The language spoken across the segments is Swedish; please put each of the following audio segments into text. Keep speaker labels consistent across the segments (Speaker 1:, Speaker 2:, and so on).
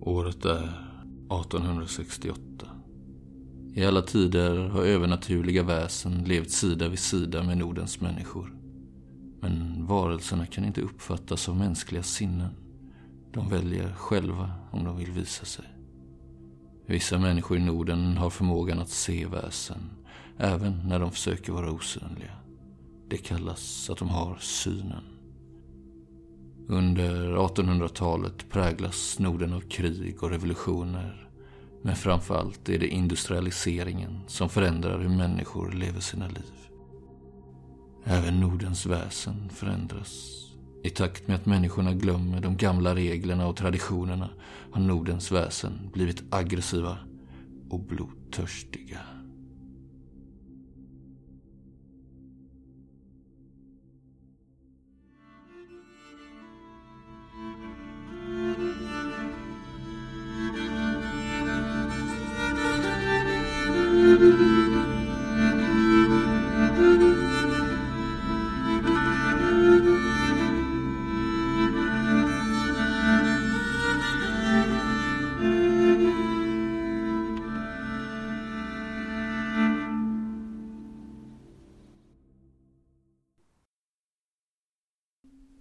Speaker 1: Året är 1868. I alla tider har övernaturliga väsen levt sida vid sida med Nordens människor. Men varelserna kan inte uppfattas av mänskliga sinnen. De väljer själva om de vill visa sig. Vissa människor i Norden har förmågan att se väsen, även när de försöker vara osynliga. Det kallas att de har synen. Under 1800-talet präglas Norden av krig och revolutioner. Men framför allt är det industrialiseringen som förändrar hur människor lever sina liv. Även Nordens väsen förändras. I takt med att människorna glömmer de gamla reglerna och traditionerna har Nordens väsen blivit aggressiva och blodtörstiga.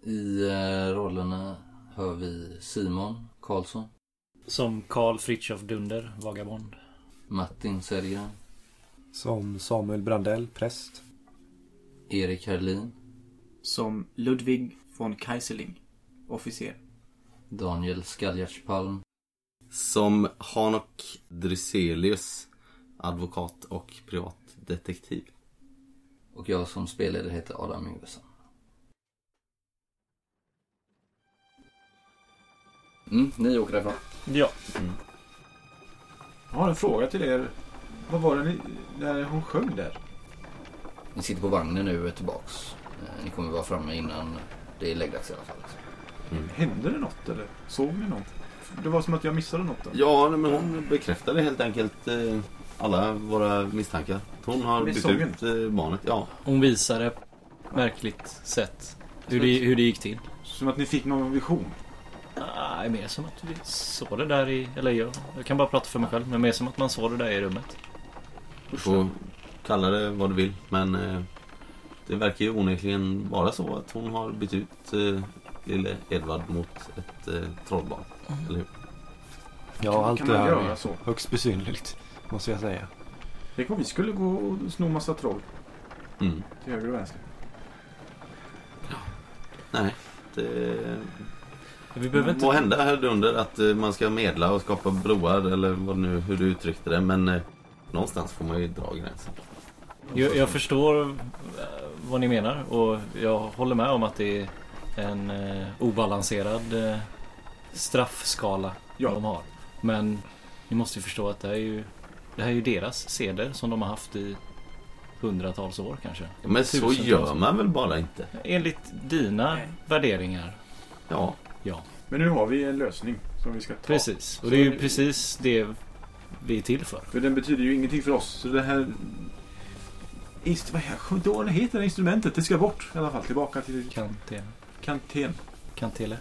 Speaker 1: I eh, rollerna hör vi Simon Karlsson,
Speaker 2: Som Karl Fritiof Dunder, vagabond.
Speaker 1: Martin Sergran,
Speaker 3: Som Samuel Brandell, präst.
Speaker 1: Erik Herlin,
Speaker 4: Som Ludwig von Kaiserling, officer.
Speaker 1: Daniel Skaljartspalm,
Speaker 5: Som Hanok Dryselius, advokat och privatdetektiv.
Speaker 1: Och jag som spelledare heter Adam Yngvesson. Mm, ni åker därifrån.
Speaker 2: Ja.
Speaker 6: Jag har en fråga till er. Vad var det ni, när hon sjöng där?
Speaker 1: Ni sitter på vagnen nu och är tillbaks. Eh, Ni kommer vara framme innan det är läggdags i alla fall.
Speaker 6: Hände det något eller? Såg ni något? Det var som att jag missade något. Där.
Speaker 5: Ja, nej, men hon bekräftade helt enkelt eh, alla våra misstankar. Hon har
Speaker 6: Med
Speaker 5: bytt
Speaker 6: sången?
Speaker 5: ut eh, barnet, ja.
Speaker 2: Hon visade på ett märkligt sätt hur det, hur det gick till.
Speaker 6: Som att ni fick någon vision.
Speaker 2: Nej, mer som att vi såg det där i... Eller jag, jag kan bara prata för mig själv. Men mer som att man såg det där i rummet.
Speaker 5: Du får kalla det vad du vill, men eh, det verkar ju onekligen vara så att hon har bytt ut eh, lille Edvard mot ett eh, trollbarn. Eller hur?
Speaker 3: Ja, allt
Speaker 6: kan
Speaker 3: det
Speaker 6: man
Speaker 3: här
Speaker 6: göra
Speaker 3: är
Speaker 6: så?
Speaker 3: högst besynnerligt, måste jag säga.
Speaker 6: Tänk om vi skulle gå och sno massa troll
Speaker 5: Mm.
Speaker 6: till höger och vänster.
Speaker 5: Nej, det
Speaker 2: Vi behöver inte...
Speaker 5: Vad hände här under att eh, man ska medla och skapa broar eller vad nu, hur du uttryckte det. Men eh, någonstans får man ju dra gränsen.
Speaker 2: Jag, jag förstår eh, vad ni menar och jag håller med om att det är en eh, obalanserad eh, straffskala
Speaker 6: Ja.
Speaker 2: de har. Men ni måste ju förstå att det här är ju, det här är ju deras seder som de har haft i hundratals år kanske.
Speaker 5: Men så
Speaker 2: Tusentals.
Speaker 5: gör man väl bara inte?
Speaker 2: Enligt dina
Speaker 4: Nej.
Speaker 2: värderingar.
Speaker 5: Ja,
Speaker 2: Ja,
Speaker 6: Men nu har vi en lösning som vi ska ta.
Speaker 2: precis. Och
Speaker 6: Så
Speaker 2: det är ju
Speaker 6: nu-
Speaker 2: precis det vi är till för.
Speaker 6: För den betyder ju ingenting för oss. Så det här... Inst- vad jag kommer inte ihåg vad det heter det här instrumentet. Det ska bort i alla fall. Tillbaka till
Speaker 2: Kantele.
Speaker 6: kanten.
Speaker 2: Kantele.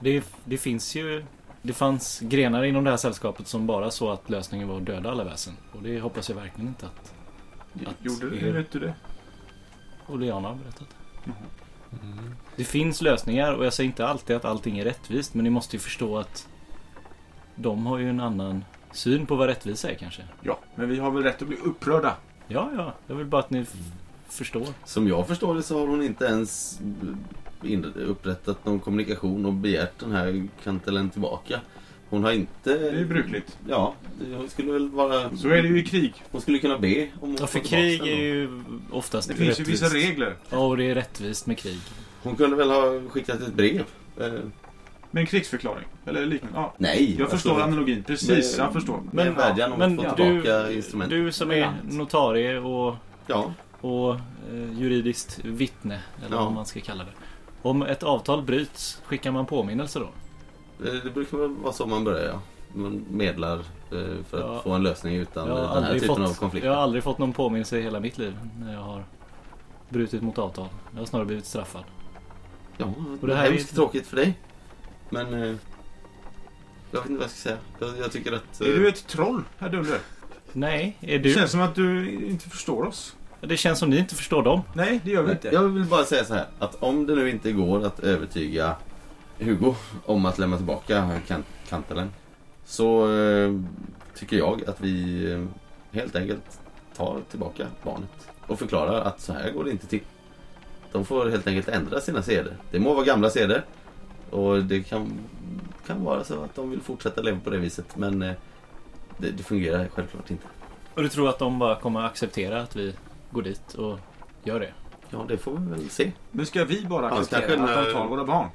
Speaker 2: Det, det finns ju... Det fanns grenar inom det här sällskapet som bara så att lösningen var att döda alla väsen. Och det hoppas jag verkligen inte att Att-
Speaker 6: Gjorde det? Vet du det?
Speaker 2: Oleana har berättat.
Speaker 3: Mm.
Speaker 2: Det finns lösningar och jag säger inte alltid att allting är rättvist men ni måste ju förstå att de har ju en annan syn på vad rättvisa är kanske.
Speaker 6: Ja, men vi har väl rätt att bli upprörda.
Speaker 2: Ja, ja. Jag vill bara att ni f-
Speaker 5: Mm.
Speaker 2: förstår.
Speaker 5: som jag förstår det så har hon inte ens eh, in- upprättat någon kommunikation och begärt den här kantelen tillbaka. Hon har inte...
Speaker 6: Det är ju brukligt.
Speaker 5: Ja, det skulle väl vara...
Speaker 6: Så är det ju i krig.
Speaker 5: Hon skulle kunna be om
Speaker 2: Ja,
Speaker 5: att
Speaker 2: för
Speaker 5: få tillbaka
Speaker 2: krig
Speaker 5: den
Speaker 2: är
Speaker 5: då.
Speaker 2: ju oftast
Speaker 6: Det finns ju vissa
Speaker 2: rättvist.
Speaker 6: regler.
Speaker 2: Ja, och det är rättvist med krig.
Speaker 5: Hon kunde väl ha skickat ett brev? Eh,
Speaker 6: Med en krigsförklaring. Eller liknande. Ja.
Speaker 5: nej.
Speaker 6: Jag förstår analogin. Precis, jag förstår.
Speaker 5: Men en vädjan om
Speaker 2: men
Speaker 5: att få
Speaker 2: du-
Speaker 5: tillbaka instrumentet.
Speaker 2: Du som är notarie och
Speaker 5: Ja,
Speaker 2: och eh, juridiskt vittne, eller
Speaker 5: Ja.
Speaker 2: vad man ska kalla det. Om ett avtal bryts, skickar man påminnelse då?
Speaker 5: Eh, det det brukar väl vara så man börjar ja. Man medlar eh, för att
Speaker 2: Ja.
Speaker 5: få en lösning utan
Speaker 2: Jag har,
Speaker 5: eh, den här
Speaker 2: aldrig
Speaker 5: typen av
Speaker 2: fått,
Speaker 5: konflikter.
Speaker 2: jag har aldrig fått någon påminnelse i hela mitt liv när jag har brutit mot avtal. Jag har snarare blivit straffad.
Speaker 5: Ja,
Speaker 2: Och
Speaker 5: och
Speaker 2: det
Speaker 5: det
Speaker 2: här är-
Speaker 5: hemskt tråkigt för dig. Men eh, Jag vet inte vad jag ska säga. Jag, jag tycker att... eh,
Speaker 6: Är du ett troll, herr Dunder?
Speaker 2: Nej, är
Speaker 6: Det
Speaker 2: du?
Speaker 6: känns som att du inte förstår oss.
Speaker 2: Det känns som ni inte förstår dem.
Speaker 6: Nej, det gör vi inte.
Speaker 5: Jag vill bara säga så här att om det nu inte går att övertyga Hugo om att lämna tillbaka kan- Kantelen så eh, tycker jag att vi eh, helt enkelt tar tillbaka barnet och förklarar att så här går det inte till. De får helt enkelt ändra sina seder. Det må vara gamla seder och det kan, kan vara så att de vill fortsätta leva på det viset men eh, det, det fungerar självklart inte.
Speaker 2: Och du tror att de bara kommer att acceptera att vi går dit och gör det?
Speaker 5: Ja, det får vi väl se.
Speaker 6: Men ska vi bara
Speaker 5: Ja,
Speaker 6: acceptera
Speaker 5: kanske
Speaker 6: att de
Speaker 5: en,
Speaker 6: tar våra barn?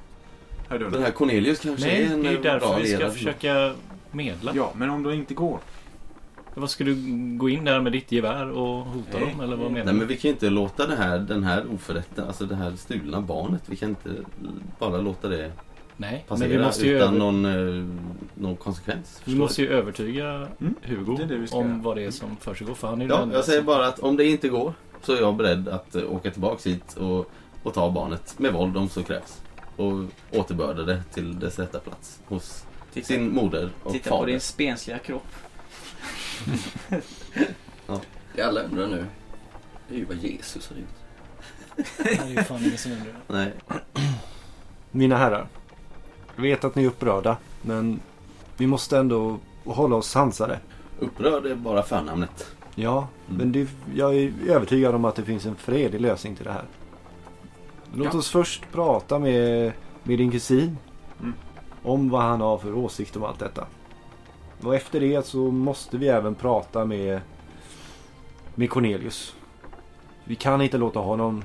Speaker 6: Herr
Speaker 5: Den
Speaker 6: Dunder?
Speaker 5: här Cornelius kanske
Speaker 2: Nej,
Speaker 5: är en
Speaker 2: det är ju
Speaker 5: eh, bra
Speaker 2: därför vi ska
Speaker 5: ledare.
Speaker 2: försöka medla.
Speaker 6: Ja, men om det inte går?
Speaker 2: Vad ska du gå in där med ditt gevär och hota
Speaker 6: Nej.
Speaker 2: dem eller vad menar
Speaker 5: Nej
Speaker 2: du?
Speaker 5: men vi kan ju inte låta det här, den här oförrätten, alltså det här stulna barnet, vi kan inte bara låta det
Speaker 2: Nej,
Speaker 5: passera
Speaker 2: men vi måste ju,
Speaker 5: utan
Speaker 2: över...
Speaker 5: någon, eh, någon konsekvens.
Speaker 2: vi
Speaker 5: förstår
Speaker 2: måste
Speaker 5: du?
Speaker 2: ju övertyga
Speaker 6: Mm,
Speaker 2: Hugo
Speaker 6: det är det vi ska
Speaker 2: om
Speaker 6: göra.
Speaker 2: vad det är som försiggår. För han är ju den
Speaker 5: Ja,
Speaker 2: enda
Speaker 5: jag säger
Speaker 2: som-
Speaker 5: bara att om det inte går så är jag beredd att eh, åka tillbaks hit och, och ta barnet med våld om så krävs. Och återbörda det till dess rätta plats hos
Speaker 4: Titta,
Speaker 5: sin moder och
Speaker 4: titta på
Speaker 5: fader.
Speaker 4: din spensliga kropp.
Speaker 7: Det alla undrar nu, det är ju vad Jesus har gjort.
Speaker 2: Nej, det är ju fan ingen som undrar.
Speaker 5: Nej,
Speaker 3: Mina herrar. Jag vet att ni är upprörda. Men vi måste ändå hålla oss sansade.
Speaker 5: upprörd är bara förnamnet.
Speaker 3: Ja,
Speaker 5: Mm.
Speaker 3: men det, jag är övertygad om att det finns en fredlig lösning till det här. Låt oss först prata med, med din kusin.
Speaker 6: Mm.
Speaker 3: Om vad han har för åsikt om allt detta. Och efter det så måste vi även prata med, med Cornelius. Vi kan inte låta honom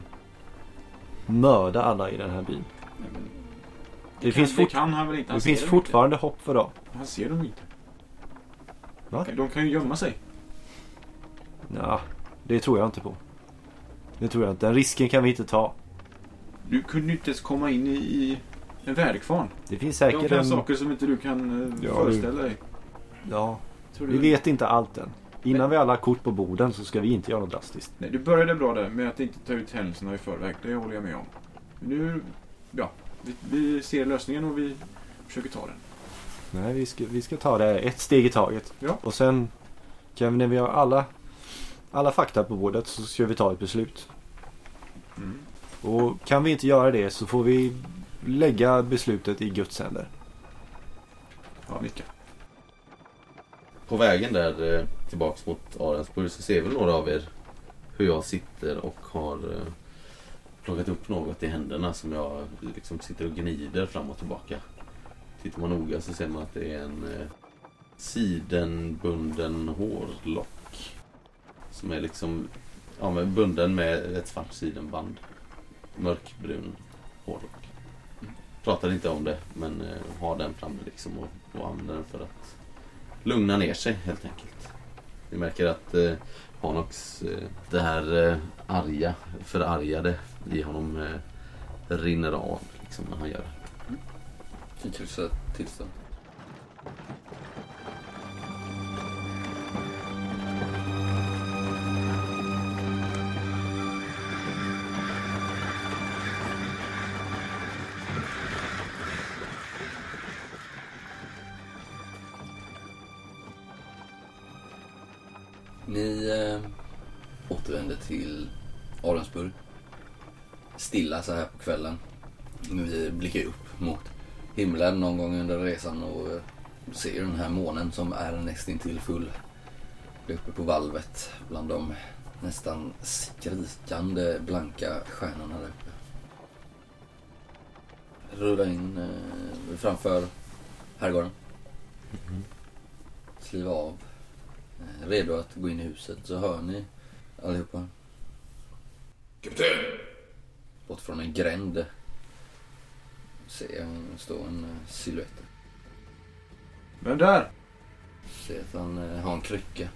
Speaker 3: mörda alla i den här byn. Det, finns,
Speaker 6: det
Speaker 3: fort,
Speaker 6: kan han väl inte? Han
Speaker 3: det
Speaker 6: ser
Speaker 3: finns
Speaker 6: dem
Speaker 3: fortfarande hopp för dem.
Speaker 6: Inte. Han ser dem inte.
Speaker 3: Va?
Speaker 6: De kan ju gömma sig.
Speaker 3: Nja, det tror jag inte på. Det tror jag inte. Den risken kan vi inte ta.
Speaker 6: Du kunde ju inte ens komma in i, i en väderkvarn.
Speaker 3: Det finns
Speaker 6: De
Speaker 3: säkert
Speaker 6: kan
Speaker 3: en...
Speaker 6: saker som inte du kan eh,
Speaker 3: Ja, det-
Speaker 6: föreställa dig.
Speaker 3: Ja,
Speaker 6: Tror du
Speaker 3: vi vet inte allt än. Innan vi har alla kort på borden så ska vi inte göra något drastiskt.
Speaker 6: Nej, du började bra där med att inte ta ut händelserna i förväg. Det håller jag med om. Men Nu, ja, vi, vi ser lösningen och vi försöker ta den.
Speaker 3: Nej, vi ska, vi ska ta det här ett steg i taget.
Speaker 6: Ja.
Speaker 3: Och sen kan vi, när vi har alla, alla fakta på bordet så ska vi ta ett beslut.
Speaker 6: Mm.
Speaker 3: Och kan vi inte göra det så får vi lägga beslutet i Guds händer.
Speaker 6: Ja, nicka.
Speaker 5: På vägen där eh, tillbaks mot Arensburg så ser väl några av er hur jag sitter och har eh, plockat upp något i händerna som jag liksom sitter och gnider fram och tillbaka. Tittar man noga så ser man att det är en eh, sidenbunden hårlock. Som är liksom ja, men bunden med ett svart sidenband. Mörkbrun hårlock. Pratar inte om det men eh, har den framme liksom och, och använder den för att lugna ner sig helt enkelt. Vi märker att eh, Hanox, eh, det här eh, arga, förargade i honom eh, rinner av liksom, när han gör det.
Speaker 7: Tillsatt tillstånd. Ni eh, återvänder till Arensburg. Stilla så här på kvällen. Vi blickar upp mot himlen någon gång under resan och eh, ser den här månen som är nästintill full. Det är uppe på valvet bland de nästan skrikande blanka stjärnorna där uppe. Rullar in eh, framför herrgården. Kliva av. Eh, Redo att gå in i huset så hör ni allihopa.
Speaker 8: Kapten!
Speaker 7: Bort från en gränd ser jag en- står en eh, silhuett.
Speaker 6: Vem där?
Speaker 7: Ser att han eh, har en krycka.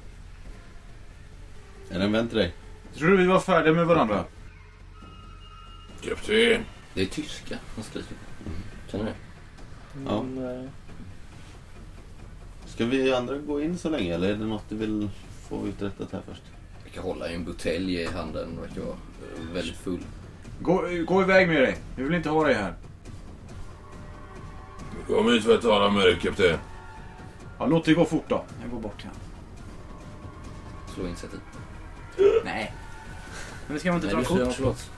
Speaker 5: Är den vän till dig?
Speaker 6: Tror du vi var färdiga med varandra?
Speaker 8: Kapten!
Speaker 7: Det är tyska han skriker. Känner ni det?
Speaker 5: Ja. Ska vi andra gå in så länge eller är det något du vill få uträttat här först?
Speaker 7: Verkar hålla i en butelj i handen. Verkar vara eh, väldigt full.
Speaker 6: Gå, gå iväg med dig. Vi vill inte ha dig här.
Speaker 8: Kom hit för att tala med dig, kapten.
Speaker 6: Ja, låt det gå fort då.
Speaker 4: Jag går bort till honom.
Speaker 7: Slå initiativ.
Speaker 4: Nej. Men ska man inte
Speaker 7: Nej,
Speaker 4: dra
Speaker 7: du slår
Speaker 4: kort?
Speaker 7: förlåt.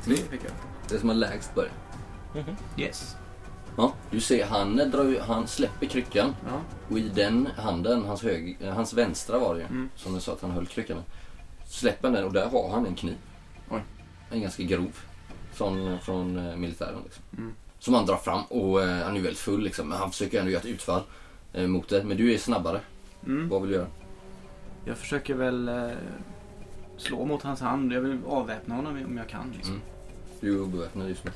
Speaker 4: Ska vi peka?
Speaker 7: Det som har lägst börjar.
Speaker 4: Yes.
Speaker 7: Ja, du ser han, drar, ju- han släpper kryckan
Speaker 4: Ja.
Speaker 7: och i den handen, hans, hög, eh, hans vänstra var det ju,
Speaker 4: Mm.
Speaker 7: som du sa att han höll kryckan med. Släpper han den och där har han en kniv.
Speaker 4: Oj.
Speaker 7: En ganska grov. Från, från eh, militären liksom.
Speaker 4: Mm.
Speaker 7: Som han drar fram och eh, han är ju väldigt full liksom. Men han försöker ändå göra ett utfall eh, mot det. Men du är snabbare.
Speaker 4: Mm.
Speaker 7: Vad vill du göra?
Speaker 4: Jag försöker väl eh, slå mot hans hand. Jag vill avväpna honom om jag kan. Liksom.
Speaker 7: Mm. Du är obeväpnad just nu.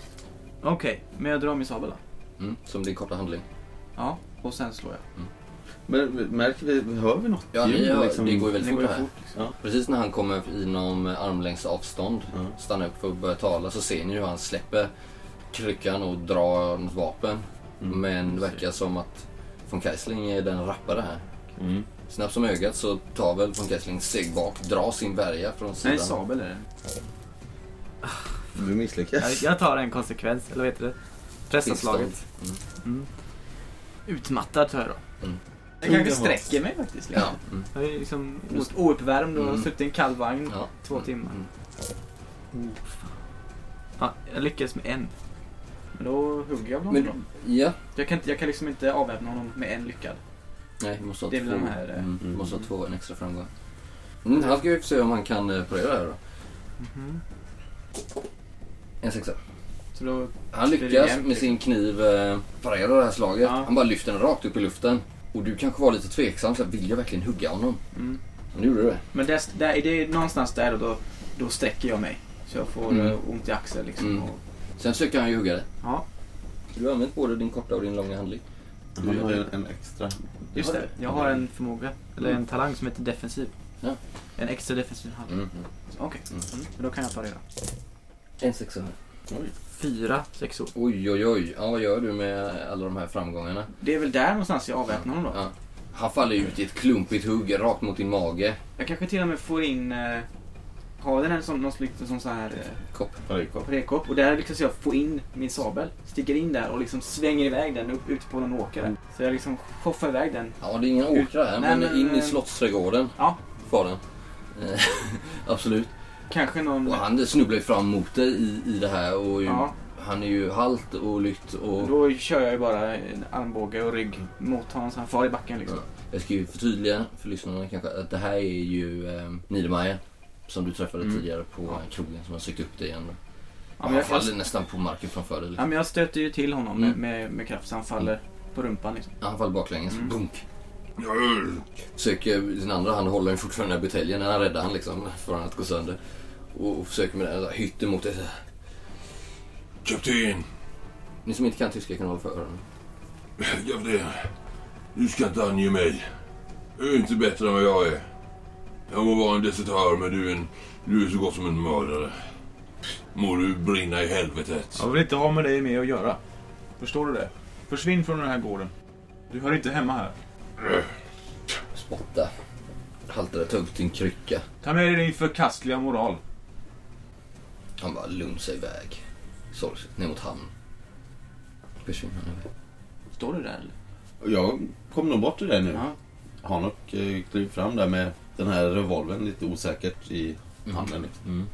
Speaker 4: Mm. Okej, men jag drar min sabel då.
Speaker 7: Mm, som din korta handling.
Speaker 4: Ja, och sen slår jag.
Speaker 5: Men märker vi, hör vi något
Speaker 7: Ja, ni, har- liksom, det går ju
Speaker 4: Det
Speaker 7: väldigt fort
Speaker 4: går ju
Speaker 7: det här.
Speaker 4: fort. Liksom.
Speaker 5: Ja.
Speaker 7: Precis när han kommer inom eh, armlängds avstånd,
Speaker 5: Ja.
Speaker 7: stannar upp för att börja tala, så ser ni hur han släpper kryckan och drar något vapen.
Speaker 5: Mm.
Speaker 7: Men det verkar som att von Keisling är den rappare här.
Speaker 5: Mm.
Speaker 7: Snabbt som ögat så tar väl von Keisling steg bak, drar sin värja från
Speaker 4: Nej,
Speaker 7: sidan.
Speaker 4: sabel är det.
Speaker 5: Du
Speaker 8: Jag,
Speaker 5: misslyckas.
Speaker 8: jag tar en konsekvens, eller vad heter det? Pressaslaget.
Speaker 7: Tillstånd.
Speaker 8: Mm. Utmattad tror jag då.
Speaker 4: Mm. Jag kanske sträcker mig faktiskt. Liksom.
Speaker 7: Ja, mm,
Speaker 8: Jag är liksom
Speaker 4: Just Mm. ouppvärmd och
Speaker 7: Mm.
Speaker 4: suttit i en kall vagn
Speaker 7: ja. Mm.
Speaker 8: två timmar. Ja, jag lyckades med en.
Speaker 4: Men då hugger jag väl honom
Speaker 7: Men,
Speaker 4: då.
Speaker 7: ja,
Speaker 4: jag kan, inte- jag kan liksom inte avväpna honom med en lyckad.
Speaker 7: nej, vi måste ha
Speaker 4: Det är väl
Speaker 7: två.
Speaker 4: den här, eh,
Speaker 7: Mm, vi måste ha två, en extra framgång. Mm, han ska ju se om han kan eh, pröva det här då. En sexa.
Speaker 4: Så då,
Speaker 7: Han
Speaker 4: Det är
Speaker 7: lyckas
Speaker 4: jämnt,
Speaker 7: med sin kniv eh, parera det här slaget.
Speaker 4: Ja.
Speaker 7: Han bara lyfter den rakt upp i luften. Och du kanske var lite tveksam, så här, vill jag verkligen hugga honom?
Speaker 4: mm.
Speaker 7: Men nu gjorde du det.
Speaker 4: Men där, där, är det någonstans där och då, då sträcker jag mig. Så jag får
Speaker 7: Mm.
Speaker 4: eh, ont i axeln liksom.
Speaker 7: Mm.
Speaker 4: Och,
Speaker 7: Sen försöker han ju hugga dig.
Speaker 4: ja,
Speaker 7: Du har använt både din korta och din långa handling.
Speaker 5: Han har ju en extra.
Speaker 4: just det. Mm. Jag har en förmåga.
Speaker 8: Eller en talang som heter defensiv.
Speaker 7: Ja.
Speaker 8: En extra defensiv hand.
Speaker 7: Mm.
Speaker 4: Okej, Mm. men då kan jag ta det då.
Speaker 7: En sexa här.
Speaker 8: Fyra sexor.
Speaker 7: Oj, oj, oj. Ja, vad gör du med alla de här framgångarna?
Speaker 4: Det är väl där någonstans jag avväpnar honom då.
Speaker 7: Ja. Han faller ut i ett klumpigt hugg rakt mot din mage.
Speaker 4: Jag kanske till och med får in... Eh, har den här som någon liten som så här eh,
Speaker 7: Kopp.
Speaker 5: Parykopp.
Speaker 4: rekopp och där lyckas jag få in min sabel. Sticker in där och liksom svänger iväg den upp, ut på någon
Speaker 7: Mm.
Speaker 4: åkare. Så jag liksom choffar iväg den.
Speaker 7: Ja, det är inga åkrar här,
Speaker 4: Nej,
Speaker 7: Mm. men,
Speaker 4: men,
Speaker 7: in i
Speaker 4: eh,
Speaker 7: slottsträdgården
Speaker 4: Ja.
Speaker 7: var den. Eh, Absolut.
Speaker 4: Kanske någon...
Speaker 7: Och han snubblar ju fram mot dig i, i det här och ju,
Speaker 4: Ja,
Speaker 7: han är ju halt och lytt och...
Speaker 4: då kör jag ju bara en armbåge och rygg mot honom så han far i backen liksom.
Speaker 7: Jag ska ju förtydliga för lyssnarna kanske att det här är ju eh, Niedermayer som du träffade
Speaker 4: Mm.
Speaker 7: tidigare på eh, krogen som har sökt upp dig igen.
Speaker 4: Ja, men
Speaker 7: han
Speaker 4: jag,
Speaker 7: faller
Speaker 4: jag,
Speaker 7: nästan på marken framför dig.
Speaker 4: ja,
Speaker 7: Liksom.
Speaker 4: men jag stöter ju till honom med,
Speaker 7: Mm.
Speaker 4: med, med kraft så han faller på rumpan liksom.
Speaker 7: Han faller baklänges.
Speaker 4: Mm.
Speaker 7: Bunk! Söker sin andra hand håller den fortfarande i buteljen. Den här räddar han liksom för att gå sönder. Och, och försöker med den där hytten mot dig.
Speaker 9: Kapten,
Speaker 7: Ni som inte kan tyska kan hålla för öronen.
Speaker 9: kapten. Du ska inte ange mig. Du är inte bättre än vad jag är. Jag må vara en desertör, men du är, en, du är så gott som en mördare. Må du brinna i helvetet.
Speaker 6: Jag vill inte ha med dig med att göra. Förstår du det? Försvinn från den här gården. Du hör inte hemma här.
Speaker 7: Spotta. Haltar det tungt din krycka.
Speaker 6: Ta med dig din förkastliga moral.
Speaker 7: Han bara lunsar iväg. Sorgset ner mot hamn. Försvinner han iväg.
Speaker 4: Står du där eller?
Speaker 5: Jag kom nog bort ur det nu.
Speaker 4: Ja.
Speaker 5: Hanok eh, klev fram där med den här revolvern lite osäkert i handen. Liksom.
Speaker 7: Mm.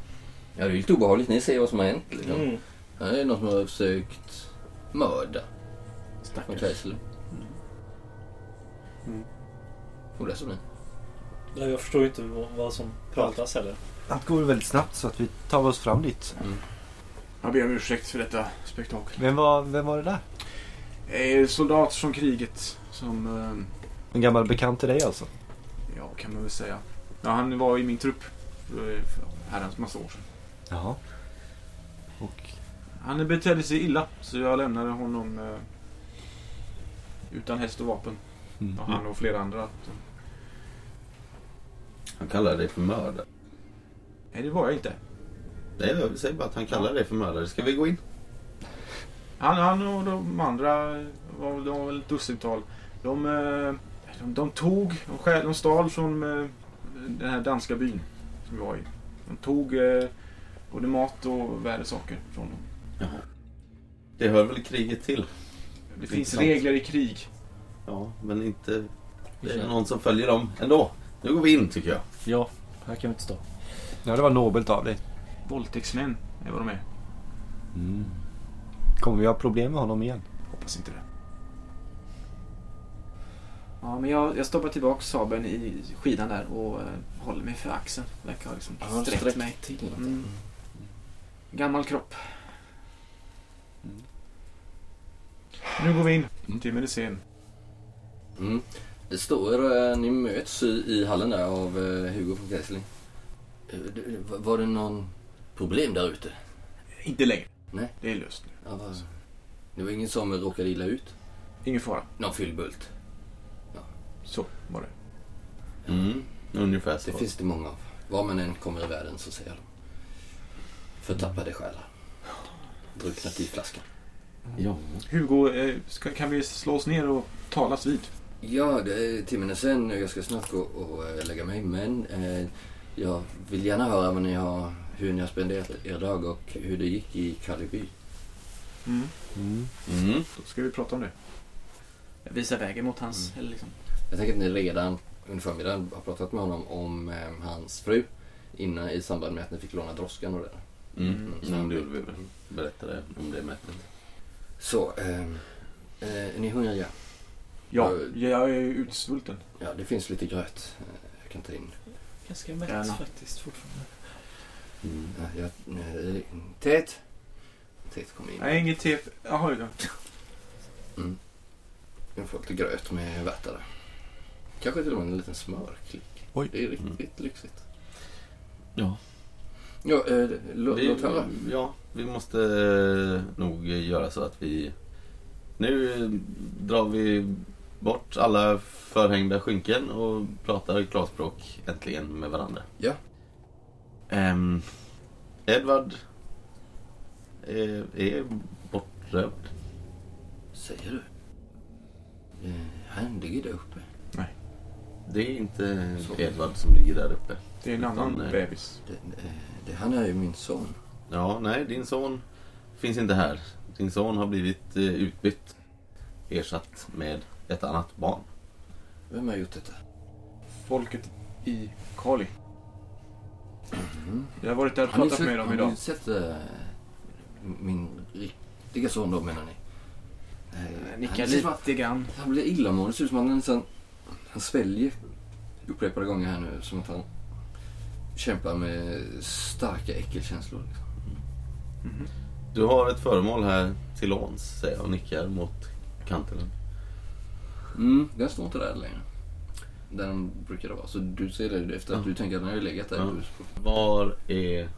Speaker 7: Ja, det är ju lite obehagligt. Ni ser vad som har hänt. Liksom. Det här är någon som har försökt mörda von Kaiserling. Och det är som det.
Speaker 10: Nej, jag förstår ju inte vad, vad som pratas heller.
Speaker 3: Allt går väldigt snabbt så att vi tar oss fram dit.
Speaker 6: Jag ber om ursäkt för detta spektakel.
Speaker 3: Vem var, vem var det där?
Speaker 6: Eh, soldat från kriget som... Eh,
Speaker 3: En gammal bekant till dig alltså?
Speaker 6: ja, kan man väl säga. Ja, han var i min trupp. eh, För herrans massa år sedan.
Speaker 3: Jaha. Och
Speaker 6: Han betedde sig illa, så jag lämnade honom eh, utan häst och vapen.
Speaker 3: Mm.
Speaker 6: Och han och flera andra.
Speaker 5: Han kallar dig för mördare.
Speaker 6: Nej, det var jag inte.
Speaker 5: Nej, jag säger bara att han kallar dig för mördare. Ska vi gå in?
Speaker 6: Han, han och de andra, var, väl- de var väl ett dussintal. De, eh, de, de tog, de, skäl, de stal från eh, den här danska byn som vi var i. De tog eh, både mat och värdesaker från dem.
Speaker 5: Det hör väl kriget till?
Speaker 6: Det finns
Speaker 5: Intressant.
Speaker 6: regler i krig.
Speaker 5: Ja, men inte... Det
Speaker 2: kör.
Speaker 5: är någon som följer dem ändå. Nu går vi in tycker jag.
Speaker 2: Ja, här kan vi inte stå.
Speaker 3: Ja, det var nobelt av dig.
Speaker 6: Våldtäktsmän är vad de är.
Speaker 3: Kommer vi ha problem med honom igen?
Speaker 6: Hoppas inte det.
Speaker 4: Ja, men jag, jag stoppar tillbaka sabeln i skidan där och eh, håller mig för axeln. Verkar ha liksom sträckt mig.
Speaker 2: till.
Speaker 4: Mm. Gammal kropp.
Speaker 6: Nu går vi in. Timmen är sen.
Speaker 7: Mm. Det står, eh, ni möts i, i hallen där av eh, Hugo från Kessling. Eh, det- var- Var det någon problem där ute?
Speaker 6: Inte längre.
Speaker 7: Nej.
Speaker 6: Det är löst nu.
Speaker 7: Ja, vad- Det var ingen som råkade illa ut?
Speaker 6: Ingen fara.
Speaker 7: Någon fyllbult?
Speaker 6: Så var det.
Speaker 5: Mm, ungefär så.
Speaker 7: Det finns det många av. Var man än kommer i världen så säger de. Förtappade själar. Drucknat i flaskan.
Speaker 5: Ja.
Speaker 6: Hugo, eh, ska, kan vi slå oss ner och talas vid?
Speaker 7: Ja, det är timmen är sen och jag ska snart gå och eh, lägga mig. Men eh, jag vill gärna höra vad ni har, hur ni har spenderat er dag och hur det gick i Karleby.
Speaker 5: Mm.
Speaker 6: Då ska vi prata om det.
Speaker 4: Jag visar vägen mot hans...
Speaker 7: Mm.
Speaker 4: Eller liksom.
Speaker 7: Jag tänker att ni redan under förmiddagen har pratat med honom om eh, hans fru innan i samband med att ni fick låna droskan och det där.
Speaker 5: Mm.
Speaker 7: Mm.
Speaker 5: Mm. Det gjorde vi väl. Berättade om det mötet.
Speaker 7: Så, ehm, eh, är ni hungriga?
Speaker 6: Ja,
Speaker 7: Eh,
Speaker 6: jag är utsvulten.
Speaker 7: Ja, det finns lite gröt. eh, Jag kan ta in.
Speaker 10: Ganska mätt
Speaker 4: Gärna.
Speaker 10: faktiskt fortfarande.
Speaker 7: Ja, jag, eh, Tet? Tet kom in.
Speaker 6: Nej, inget te. Jaha, ja.
Speaker 7: Jag får lite gröt med värtare. Kanske till och med en liten smörklick.
Speaker 3: Oj.
Speaker 7: Det är riktigt lyxigt.
Speaker 5: Ja.
Speaker 7: Ja, eh, låt,
Speaker 5: Vi,
Speaker 7: låt höra.
Speaker 5: ja, vi måste eh, nog göra så att vi... Nu eh, drar vi bort alla förhängda skynken och pratar klarspråk äntligen med varandra.
Speaker 7: Ja.
Speaker 5: Ehm, Edvard är, är bortrövd.
Speaker 7: Säger du? Eh, han ligger där uppe.
Speaker 5: Det är inte
Speaker 7: Så.
Speaker 5: Edvard som ligger där uppe.
Speaker 6: Det är en annan
Speaker 5: Utan, eh,
Speaker 6: bebis.
Speaker 7: Det, eh, det, han är ju min son.
Speaker 5: Ja, nej, din son finns inte här. Din son har blivit eh, utbytt. Ersatt med ett annat barn.
Speaker 7: Vem har gjort detta?
Speaker 6: Folket i Kali.
Speaker 7: Mm.
Speaker 6: Jag har varit där och
Speaker 7: Har ni
Speaker 6: pratat
Speaker 7: sett,
Speaker 6: med dem
Speaker 7: har
Speaker 6: idag.
Speaker 7: ni sett eh, min riktiga son då menar ni? Eh,
Speaker 4: Eh, Nickar
Speaker 7: han, ser-
Speaker 4: lite grann.
Speaker 7: han blir illamående. Det ser ut som att han nästan... Han sväljer upprepade gånger här nu. Som att han kämpar med starka äckelkänslor. Liksom.
Speaker 5: Du har ett föremål här till låns, säger jag och nickar mot kanten.
Speaker 7: Mm, den står inte där längre. Där den brukade vara. Så du ser det efter att
Speaker 5: Ja.
Speaker 7: du tänker att den har ju legat där.
Speaker 5: Ja.
Speaker 7: Du-
Speaker 5: Var är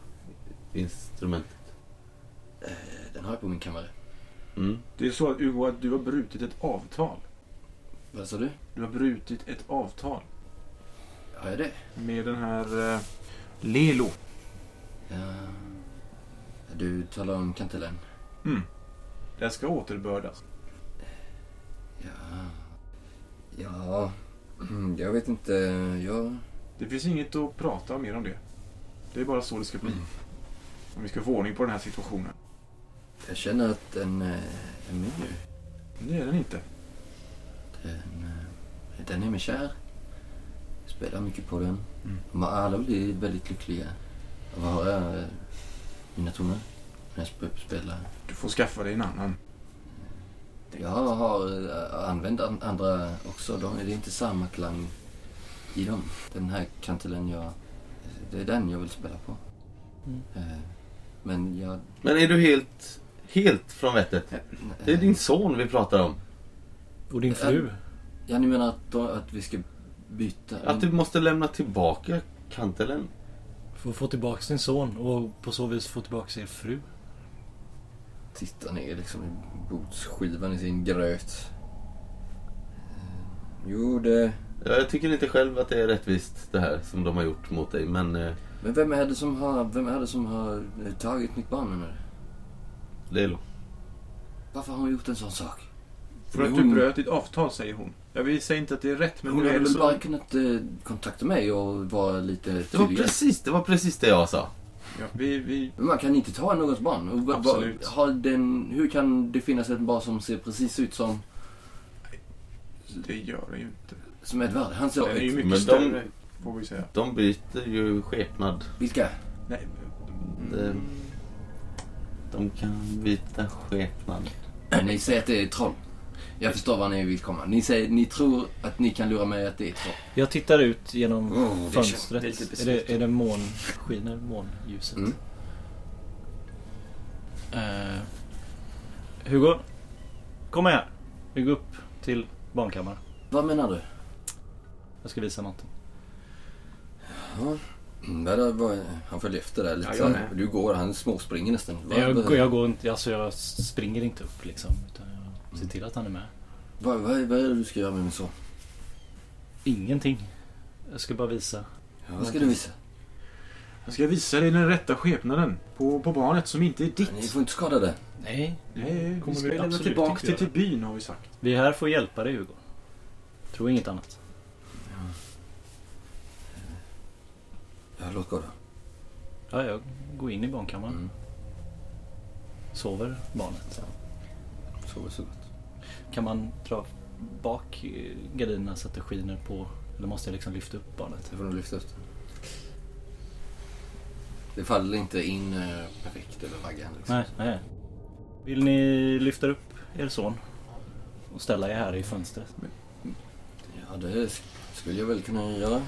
Speaker 5: instrumentet?
Speaker 7: Den har jag på min kammare.
Speaker 5: Mm.
Speaker 6: Det är så att Hugo, att du har brutit ett avtal.
Speaker 7: Vad sa du?
Speaker 6: Du har brutit ett avtal
Speaker 7: Har jag det?
Speaker 6: med den här eh, Lelo.
Speaker 7: Ja. Du talar om kantelen.
Speaker 6: Den ska återbördas.
Speaker 7: Ja. Ja. Mm, Jag vet inte. Jag...
Speaker 6: Det finns inget att prata mer om det. Det är bara så det ska bli. Om vi ska få ordning på den här situationen.
Speaker 7: Jag känner att den eh, är min nu.
Speaker 6: Men det är den inte.
Speaker 7: Den, eh, den är mig kär. Jag spelar mycket på den.
Speaker 5: Mm.
Speaker 7: De har alla blivit väldigt lyckliga. Vad har jag? eh, Mina toner? När jag sp- spelar.
Speaker 6: Du får skaffa dig en annan.
Speaker 7: Jag har eh, använt an- andra också. De, det är inte samma klang i dem. Den här kantelen jag... Det är den jag vill spela på.
Speaker 5: Mm.
Speaker 7: Eh, Men jag...
Speaker 5: Men är du helt, helt från vettet? Det är din son vi pratar om.
Speaker 2: Och din fru?
Speaker 7: eh, Ja, ni menar att, då, att vi ska byta?
Speaker 5: Att du måste lämna tillbaka kantelen.
Speaker 10: Får få tillbaka sin son och på så vis få tillbaka er fru.
Speaker 7: Tittar ner liksom i bordsskivan i sin gröt. Eh, Jo, det...
Speaker 5: Ja, Jag tycker inte själv att det är rättvist det här som de har gjort mot dig. Men eh,
Speaker 7: Men vem är det som har, vem är det som har eh, tagit mitt barn menar du?
Speaker 5: Lelo.
Speaker 7: Varför har hon gjort en sån sak?
Speaker 6: För att typ du
Speaker 7: Hon-
Speaker 6: bröt ditt avtal, säger hon. Jag vill säga inte att det är rätt, men
Speaker 7: Hon
Speaker 6: det
Speaker 7: hade
Speaker 6: är
Speaker 7: väl
Speaker 6: så.
Speaker 7: bara kunnat eh, kontakta mig och vara lite
Speaker 5: Det var
Speaker 7: tydligare.
Speaker 5: precis det, var precis det jag sa.
Speaker 6: Ja, vi, vi...
Speaker 7: Men Man kan inte ta någons barn. Och va- va-
Speaker 6: Absolut.
Speaker 7: Har den, hur kan det finnas ett barn som ser precis ut som...
Speaker 6: Det gör det ju inte.
Speaker 7: Som Edvard, han sa...
Speaker 6: Den är ju mycket
Speaker 5: men de-
Speaker 6: större, får vi säga.
Speaker 5: De byter ju skepnad.
Speaker 7: Vilka?
Speaker 6: Nej,
Speaker 5: De, de kan byta skepnad.
Speaker 7: Ni säger att det är troll. Jag förstår vad ni vill komma. Ni, säger, ni tror att ni kan lura mig att det är troll.
Speaker 2: Jag tittar ut genom
Speaker 7: Oh, det känns-
Speaker 2: fönstret.
Speaker 10: det är lite
Speaker 2: är, det, är det månskiner? Månljuset?
Speaker 7: Mm.
Speaker 2: Eh, Hugo, kom med här. Vi går upp till barnkammaren.
Speaker 7: Vad menar du?
Speaker 2: Jag ska visa någonting.
Speaker 7: Mm, där, där var, han följde efter där lite.
Speaker 6: Ja, jag
Speaker 7: så här.
Speaker 6: med.
Speaker 7: du går, han småspringer nästan. Vad-
Speaker 2: Nej, jag,
Speaker 7: vad-
Speaker 2: går- jag, går inte, alltså jag springer inte upp liksom. Utan jag ser
Speaker 7: Mm.
Speaker 2: till att han är med.
Speaker 7: Vad, vad, vad är det du ska göra med min son?
Speaker 2: Ingenting. Jag ska bara visa.
Speaker 7: Ja, vad ska du visa?
Speaker 6: Jag ska visa dig den rätta skepnaden på, på barnet som inte är ditt.
Speaker 7: Ni får inte skada det.
Speaker 2: Nej.
Speaker 6: Nej, vi
Speaker 2: kommer
Speaker 6: ska
Speaker 2: vi
Speaker 6: lämna
Speaker 2: absolut
Speaker 6: tillbaka
Speaker 2: inte
Speaker 6: till, till
Speaker 2: göra.
Speaker 6: byn har vi sagt.
Speaker 2: Vi är här för att hjälpa dig Hugo. Tror inget annat.
Speaker 7: Ja, låt gå då.
Speaker 2: Ja, jag går in i barnkammaren.
Speaker 7: Mm.
Speaker 2: Sover barnet.
Speaker 7: Sover så gott.
Speaker 2: Kan man dra bak eh, gardinerna så att det skiner på? Eller måste jag liksom lyfta upp barnet?
Speaker 7: Det får nog lyfta ut. Det faller inte in eh, perfekt över vaggan. Liksom.
Speaker 2: Nej, nej. Vill ni lyfta upp er son? Och ställa er här i fönstret?
Speaker 7: Ja, det sk- skulle jag väl kunna göra.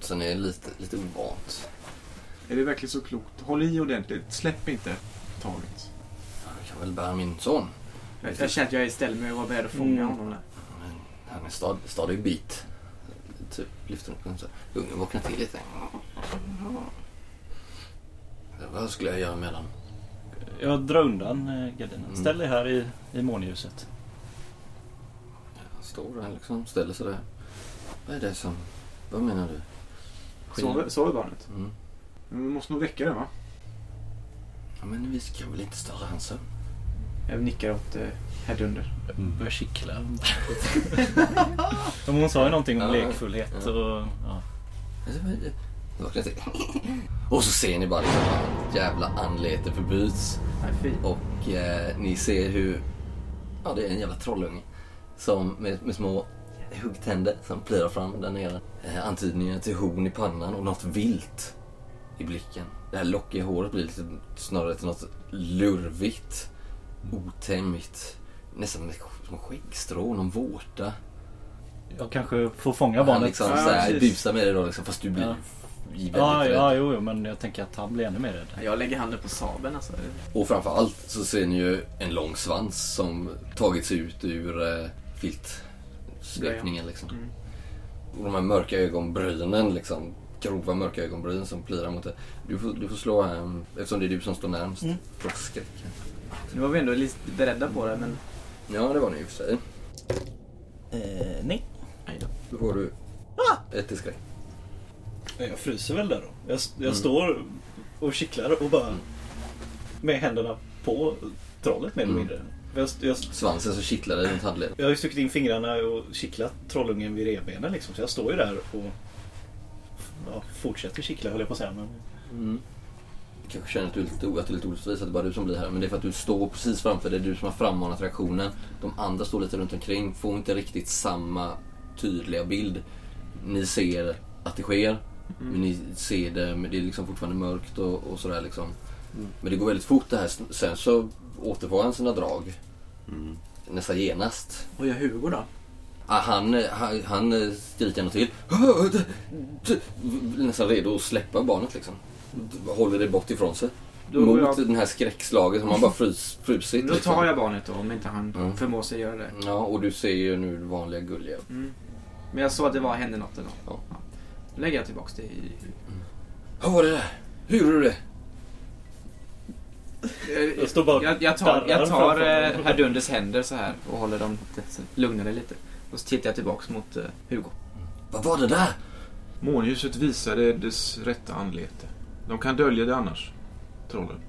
Speaker 7: Sen är det lite, lite ovant.
Speaker 6: Är det verkligen så klokt? Håll i ordentligt. Släpp inte taget.
Speaker 7: Jag kan väl bära min son.
Speaker 4: Jag, jag känner att jag är ställd med att vara beredd att fånga
Speaker 2: Mm.
Speaker 4: honom där.
Speaker 7: Men han är stad, stadig bit. Typ lyfter upp den så. här. Ungen vaknar till lite. Ja, Vad skulle jag göra med den?
Speaker 2: Jag drar undan eh, gardinen.
Speaker 7: Mm.
Speaker 2: Ställ er här i, i månljuset.
Speaker 7: Han står där liksom, ställer sig där. Vad är det som... Vad menar du?
Speaker 6: Sover, sover barnet?
Speaker 7: Mm.
Speaker 6: Men vi måste nog väcka det va?
Speaker 7: Ja, men vi ska väl inte störa hans sömn?
Speaker 4: Jag nickar åt eh, Hedunder.
Speaker 2: Börjar kittla. Som hon sa ju någonting
Speaker 7: Ja,
Speaker 2: om lekfullhet
Speaker 7: ja.
Speaker 2: och... Ja.
Speaker 7: Alltså, vad är det? Då vaknar jag till. Och så ser ni bara liksom, jävla anlete förbyts.
Speaker 4: Nej, fy.
Speaker 7: Och eh, ni ser hur, ja det är en jävla trollunge. Som med, med små huggtänder som plirar fram där nere. Eh, antydningar till horn i pannan och något vilt i blicken. Det här lockiga håret blir lite, snarare till något lurvigt, otämjt. Nästan med små skäggstrån, någon vårta.
Speaker 2: Jag kanske får fånga
Speaker 7: Han
Speaker 2: barnet.
Speaker 7: liksom
Speaker 6: Ja,
Speaker 7: såhär
Speaker 6: precis.
Speaker 7: busar med det då liksom, fast du blir
Speaker 2: Ja.
Speaker 7: väldigt
Speaker 2: Ja,
Speaker 7: rädd.
Speaker 2: ja, jo, jo, men jag tänker att han blir ännu mer rädd.
Speaker 4: Jag lägger handen på sabeln alltså.
Speaker 7: Och framför allt så ser ni ju en lång svans som tagit sig ut ur eh, filtsvepningen liksom.
Speaker 4: Mm.
Speaker 7: Och de här mörka ögonbrynen liksom. Grova mörka ögonbryn som plirar mot det. Du får, du får slå här, um, eftersom det är du som står närmst.
Speaker 2: Mm.
Speaker 7: För skräck.
Speaker 4: Nu var vi ändå lite beredda på det, men
Speaker 7: Ja, det var ni i och för sig.
Speaker 2: Eh, nej.
Speaker 7: Då får du ett till skräck.
Speaker 10: Jag fryser väl där då. Jag, s-
Speaker 7: Mm.
Speaker 10: jag står och kittlar och bara med händerna på trollet mer eller
Speaker 7: Mm.
Speaker 10: mindre. För Jag, jag,
Speaker 7: Svansen så kittlar dig runt handleden.
Speaker 10: jag har ju stuckit in fingrarna och kittlat trollungen vid revbenen liksom. Så jag står ju där och ja, fortsätter kittla höll jag på att säga. Men
Speaker 7: Mm. Du kanske känner att du är lite, o- att det är lite orättvist att det bara är du som blir här. Men det är för att du står precis framför. Det är du som har frammanat reaktionen. De andra står lite runt omkring. Får inte riktigt samma tydliga bild. Ni ser att det sker. Men ni ser det, men det är liksom fortfarande mörkt och, och sådär liksom. Men det går väldigt fort det här. Sen så återfår han sina drag. Nästan genast.
Speaker 4: vad gör Hugo då?
Speaker 7: Ah, Han, eh, han, han eh, skriker något till. Ah, d- d- blir Nästan redo att släppa barnet liksom. D- Håller det bort ifrån sig.
Speaker 4: Då går
Speaker 7: Mot
Speaker 4: jag-
Speaker 7: den här skräckslaget som han bara frys, frusit.
Speaker 4: Då
Speaker 7: liksom.
Speaker 4: tar jag barnet då, om inte han
Speaker 7: Mm.
Speaker 4: förmår sig göra det.
Speaker 7: Ja, och du ser ju nu det vanliga gulliga.
Speaker 4: Mm. Men jag såg att det var hände något ändå.
Speaker 7: Ja.
Speaker 4: Ja. Då lägger jag tillbaks det i...
Speaker 7: Vad var det där? Hur gjorde du det?
Speaker 4: Jag,
Speaker 10: jag står bara
Speaker 4: Eh, jag, jag tar,
Speaker 10: darrar
Speaker 4: jag tar
Speaker 10: framför
Speaker 4: eh,
Speaker 10: mig.
Speaker 4: herr Dunders händer så här och håller dem lite, så lugnar det lite. Och så tittar jag tillbaks mot eh, Hugo.
Speaker 7: Vad var det där?
Speaker 6: Månljuset visade dess rätta anlete. De kan dölja det annars. Trollen.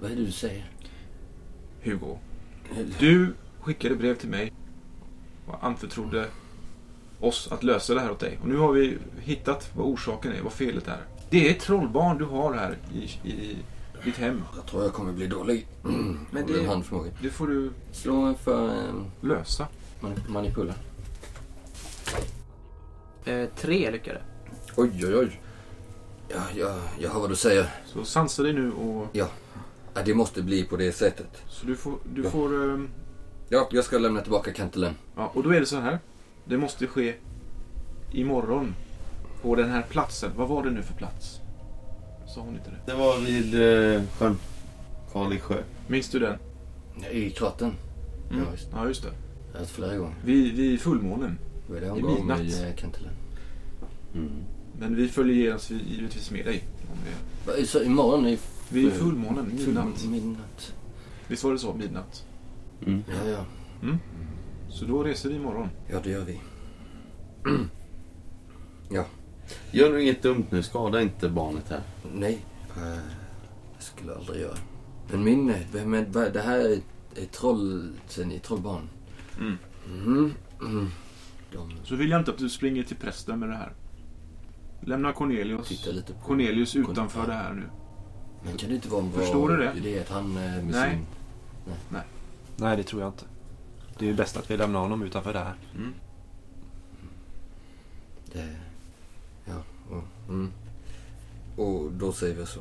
Speaker 7: Vad är det du säger?
Speaker 6: Hugo. Du skickade brev till mig och anförtrodde oss att lösa det här åt dig. Och nu har vi hittat vad orsaken är, vad felet är. Det är ett trollbarn du har här i, i Ditt hem.
Speaker 7: Jag tror jag kommer bli dålig.
Speaker 6: Men
Speaker 7: Men det...
Speaker 6: det-
Speaker 7: en handförmåga.
Speaker 6: Det får du
Speaker 7: Slå för eh,
Speaker 6: lösa.
Speaker 7: manip- manipula.
Speaker 8: Eh, tre lyckade.
Speaker 7: Oj, oj, oj. Ja, ja, jag hör vad du säger.
Speaker 6: Så sansa dig nu och...
Speaker 7: Ja, det måste bli på det sättet.
Speaker 6: Så du får... Du
Speaker 7: Ja.
Speaker 6: får ehm,
Speaker 7: Ja, jag ska lämna tillbaka kantelen.
Speaker 6: ja, och då är det så här. Det måste ske imorgon. På den här platsen. Vad var det nu för plats? Sa hon inte det?
Speaker 5: Det var vid eh, sjön. Kalix sjö.
Speaker 6: Minns du den?
Speaker 7: I kratten.
Speaker 6: Mm.
Speaker 7: Ja, visst.
Speaker 6: Ja, just det.
Speaker 7: Jag har hört flera gånger.
Speaker 6: Vid, vid fullmånen.
Speaker 7: Det var det hon
Speaker 6: I
Speaker 7: gav
Speaker 6: midnatt.
Speaker 7: mig eh, kantelen.
Speaker 6: Men vi följer genast vi- givetvis med dig. Om vi är.
Speaker 7: Va, Så imorgon i
Speaker 6: Vid fullmånen, midnatt.
Speaker 7: full- midnatt.
Speaker 6: Visst var det så? Midnatt.
Speaker 7: Ja, ja.
Speaker 6: Så då reser vi imorgon.
Speaker 7: Ja, det gör vi.
Speaker 5: Gör nu inget dumt nu. Skada inte barnet här.
Speaker 7: Nej, eh, jag skulle aldrig göra. Men min, vem är, vad- det här är, är troll, sen är trollbarn.
Speaker 6: Mm.
Speaker 7: Mm. Mm. De
Speaker 6: Så vill jag inte att du springer till prästen med det här. Lämna Cornelius,
Speaker 7: tittar lite på...
Speaker 6: Cornelius utanför det här nu.
Speaker 7: Men kan det inte vara en bra
Speaker 6: Förstår du det?
Speaker 7: idé att han eh, med
Speaker 6: Nej.
Speaker 7: sin...
Speaker 3: Nej, det tror jag inte. Det är ju bäst att vi lämnar honom utanför det här.
Speaker 7: Det, ja, och, mm. och då säger vi så.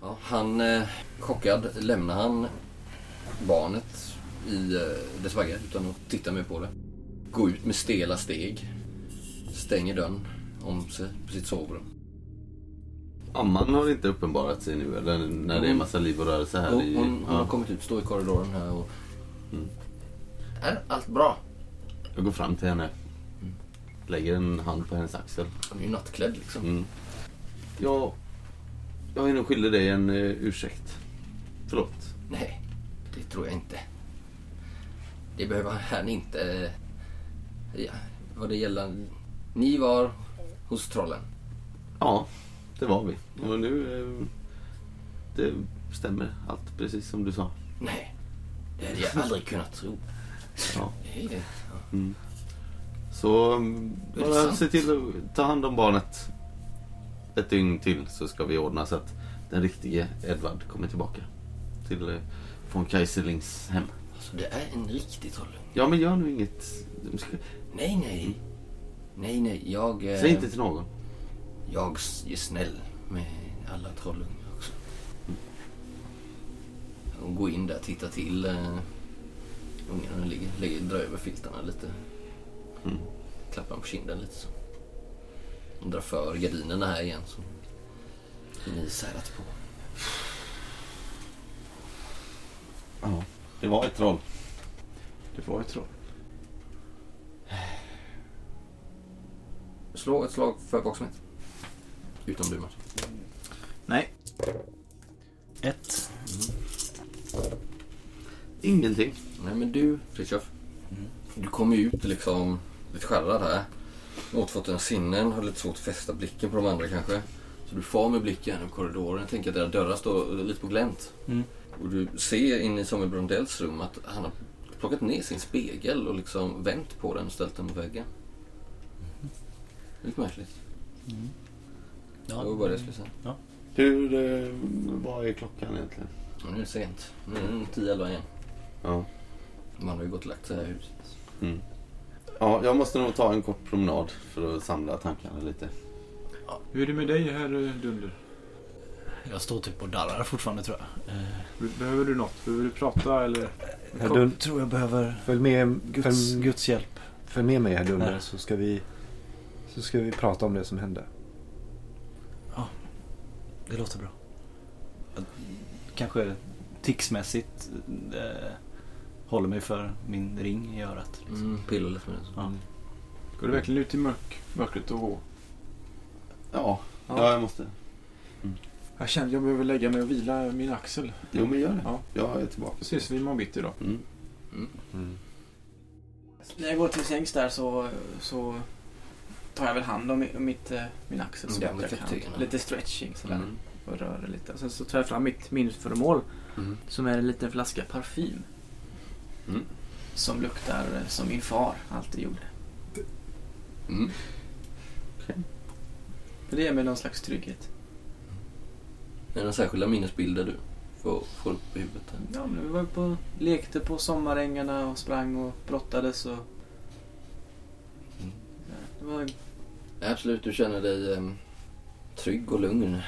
Speaker 7: Ja, han, eh, chockad, lämnar han barnet i eh, dess vagga utan att titta mer på det. Går ut med stela steg. Stänger dörren om sig på sitt sovrum.
Speaker 5: Amman har inte uppenbarat sig nu eller? När det är massa liv och rörelse här
Speaker 7: Jo,
Speaker 5: i...
Speaker 7: hon, hon har
Speaker 5: ja.
Speaker 7: kommit ut, står i korridoren här och...
Speaker 5: Mm.
Speaker 7: Är allt bra?
Speaker 5: Jag går fram till henne. Lägger en hand på hennes axel.
Speaker 7: Hon är ju nattklädd liksom.
Speaker 5: Mm. Jag, jag är nog skyldig dig en eh, ursäkt. Förlåt.
Speaker 7: Nej, det tror jag inte. Det behöver han inte... eh, Ja, vad det gäller... Ni var hos trollen.
Speaker 5: Ja, det var vi. Och nu... eh, Det stämmer allt precis som du sa.
Speaker 7: Nej, det hade jag aldrig kunnat tro.
Speaker 5: Ja.
Speaker 7: Nej,
Speaker 5: Så mm,
Speaker 7: Är det
Speaker 5: bara
Speaker 7: sant?
Speaker 5: se till att ta hand om barnet ett dygn till så ska vi ordna så att den riktige Edvard kommer tillbaka till eh, von Kaiserlings hem.
Speaker 7: Alltså, det är en riktig trollung.
Speaker 5: Ja men gör nu inget. Du ska-
Speaker 7: Nej, nej. Nej, nej, jag... eh,
Speaker 5: Säg inte till någon.
Speaker 7: Jag s- är snäll med alla trollungar också. Och gå in där, titta till. Eh, ungarna ligger, lägger, drar över filtarna lite.
Speaker 5: Mm.
Speaker 7: Klappar dem på kinden lite så. Och drar för gardinerna här igen så. Ni särat på.
Speaker 5: Ja, det var ett troll.
Speaker 6: Det var ett troll.
Speaker 7: Slå ett slag för vaksamhet. Utom du Mats.
Speaker 8: Nej.
Speaker 10: Ett.
Speaker 5: Ingenting.
Speaker 7: Nej men du Fritiof.
Speaker 10: Mm.
Speaker 7: Du kom ju ut liksom lite skärrad här. Återfått dina sinnen, har lite svårt att fästa blicken på de andra kanske. Så du far med blicken genom korridoren. Jag tänker att era dörrar står lite på glänt.
Speaker 10: Mm.
Speaker 7: Och du ser in i Samuel Brundells rum att han har plockat ner sin spegel och liksom vänt på den och ställt den mot väggen.
Speaker 10: Mm.
Speaker 7: Lite märkligt.
Speaker 10: Ja.
Speaker 7: Det var bara det jag skulle säga.
Speaker 5: Hur... Eh, vad är klockan egentligen?
Speaker 7: Men nu är det sent. Nu är det 10-11 igen.
Speaker 5: Ja.
Speaker 7: Man har ju gått och lagt sig här i huset.
Speaker 5: ja, jag måste nog ta en kort promenad för att samla tankarna lite.
Speaker 6: Hur är det med dig herr eh, Dunder?
Speaker 10: Jag står typ och darrar fortfarande tror jag. Eh,
Speaker 6: Behöver du något? Behöver du prata eller?
Speaker 3: Herr Dun,
Speaker 10: tror jag behöver
Speaker 3: följ, med,
Speaker 10: Guds,
Speaker 3: följ,
Speaker 10: Guds hjälp.
Speaker 3: följ med mig herr Dunder
Speaker 10: Nej.
Speaker 3: så ska vi... Så ska vi prata om det som hände.
Speaker 10: Det låter bra. Att- Kanske ticsmässigt eh, håller mig för min ring i örat. Liksom.
Speaker 7: Mm, pillar lite
Speaker 2: alltså.
Speaker 7: med den.
Speaker 10: Ja.
Speaker 6: Går du verkligen ut i mörk, mörkret och gå?
Speaker 5: Ja, Ja, jag måste.
Speaker 6: Jag kände jag behöver lägga mig och vila min axel.
Speaker 5: Jo, men gör det.
Speaker 6: Ja.
Speaker 5: Jag är tillbaka.
Speaker 6: Ses vi imorgon bitti då.
Speaker 5: Mm.
Speaker 3: Mm.
Speaker 4: När jag går till sängs där så, så tar jag väl hand om mi- om mitt, eh, min axel så
Speaker 7: Mm,
Speaker 4: gott jag
Speaker 7: lite
Speaker 4: kan.
Speaker 7: till, ja.
Speaker 4: Lite stretching sådär.
Speaker 5: Mm.
Speaker 4: Och rör det lite. Och sen så tar jag fram mitt minnesföremål
Speaker 5: Mm.
Speaker 4: som är en liten flaska parfym.
Speaker 5: Mm.
Speaker 4: Som luktar eh, som min far alltid gjorde.
Speaker 7: Mm.
Speaker 4: För det ger mig någon slags trygghet.
Speaker 7: Är det några särskilda minnesbilder du får, får upp i huvudet? Här?
Speaker 4: Ja, men vi var ju på, lekte på sommarängarna och sprang och brottades och... Ja, Det var
Speaker 7: Nej, Absolut, du känner dig eh, trygg och lugn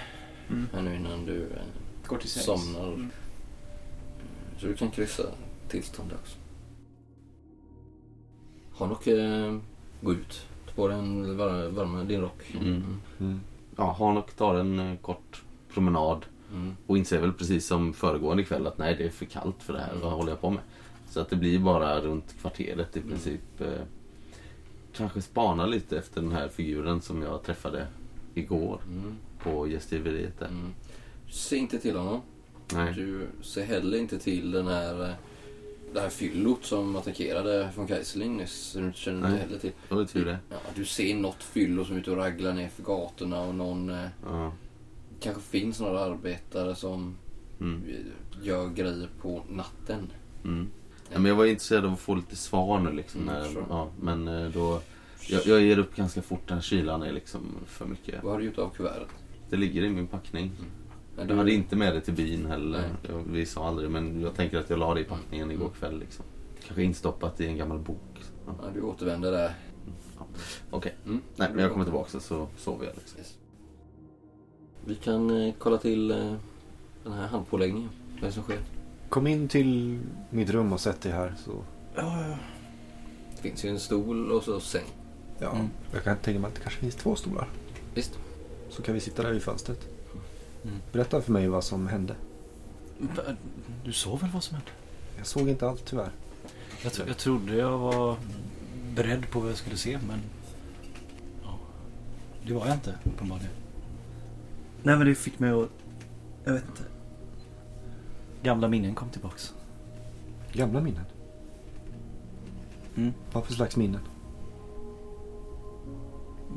Speaker 4: Mm.
Speaker 7: här nu innan du eh,
Speaker 4: går till sängs.
Speaker 7: somnar. Eh,
Speaker 4: Mm.
Speaker 7: Så du kan kryssa tillstånd också. Hanok, eh, gå ut. Ta på dig en var- varma, din rock.
Speaker 5: Mm. Ja, Hanok tar en eh, kort promenad
Speaker 7: Mm.
Speaker 5: och inser väl precis som föregående kväll att nej, det är för kallt för det här. Vad håller jag på med? Så att det blir bara runt kvarteret
Speaker 7: Mm.
Speaker 5: i princip. Eh, kanske spana lite efter den här figuren som jag träffade igår
Speaker 7: Mm.
Speaker 5: på gästgiveriet där.
Speaker 7: Mm. Se inte till honom.
Speaker 5: Nej.
Speaker 7: Du ser heller inte till den här, eh, det här fyllot som attackerade von Kaiserling nyss. Du känner inte
Speaker 5: Nej.
Speaker 7: heller till.
Speaker 5: Det var ju tur det.
Speaker 7: Ja, du ser något fyllo som är ute och raglar ner för gatorna och någon... Eh,
Speaker 5: Ja.
Speaker 7: kanske finns några arbetare som
Speaker 5: Mm.
Speaker 7: eh, gör grejer på natten.
Speaker 5: Mm. Ja, men jag var intresserad av att få lite svar nu liksom.
Speaker 7: Mm,
Speaker 5: När,
Speaker 7: förstår.
Speaker 5: ja, men eh, då... Jag, jag ger upp ganska fort. Den här kylan är liksom för mycket.
Speaker 7: Vad har du gjort av kuvertet?
Speaker 5: Det ligger i min packning.
Speaker 7: Nej,
Speaker 5: Du hade inte med det till byn heller.
Speaker 7: Nej.
Speaker 5: Jag- Vi sa aldrig, men jag tänker att jag la det i packningen igår kväll. Liksom. Kanske instoppat i en gammal bok. Ja,
Speaker 7: Ja, du återvänder där.
Speaker 5: Okej.
Speaker 7: Mm.
Speaker 5: Nej, men jag kommer tillbaka så sover jag. Liksom.
Speaker 7: Vi kan eh, kolla till eh, den här handpåläggningen. Vad är det som sker?
Speaker 3: Kom in till mitt rum och sätt dig här. Så.
Speaker 7: Det finns ju en stol och så säng.
Speaker 3: Ja,
Speaker 2: Mm.
Speaker 3: Jag kan tänka mig att det kanske finns två stolar.
Speaker 7: Visst.
Speaker 3: Så kan vi sitta där vid fönstret.
Speaker 2: Mm.
Speaker 3: Berätta för mig vad som hände.
Speaker 2: Va- Du såg väl vad som hände?
Speaker 3: Jag såg inte allt tyvärr.
Speaker 2: Jag, tro, jag trodde jag var beredd på vad jag skulle se men... Ja, det var jag inte uppenbarligen.
Speaker 10: Nej men det fick mig att... Jag vet inte.
Speaker 2: Gamla minnen kom tillbaks.
Speaker 3: Gamla minnen.
Speaker 2: Mm.
Speaker 3: Vad för slags minnen?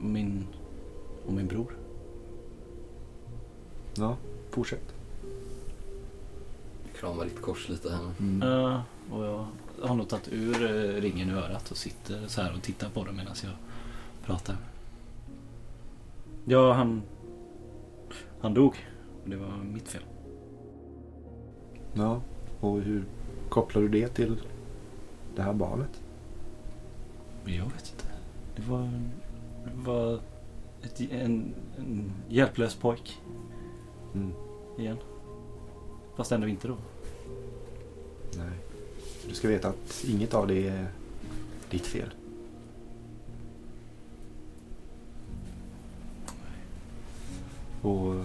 Speaker 2: Min... Och min bror.
Speaker 3: Ja, fortsätt.
Speaker 7: Kramar ditt kors lite här nu.
Speaker 2: Eh, och jag har nog tagit ur eh, ringen i örat och sitter så här och tittar på den medan jag pratar. Ja, han... Han dog. Och det var mitt fel.
Speaker 3: Ja, och hur kopplar du det till det här barnet?
Speaker 2: Men jag vet inte. Det var... Det var ett, en, en hjälplös pojk.
Speaker 3: Mm.
Speaker 2: Igen. Fast ändå inte då.
Speaker 3: Nej. Du ska veta att inget av det är ditt fel. Och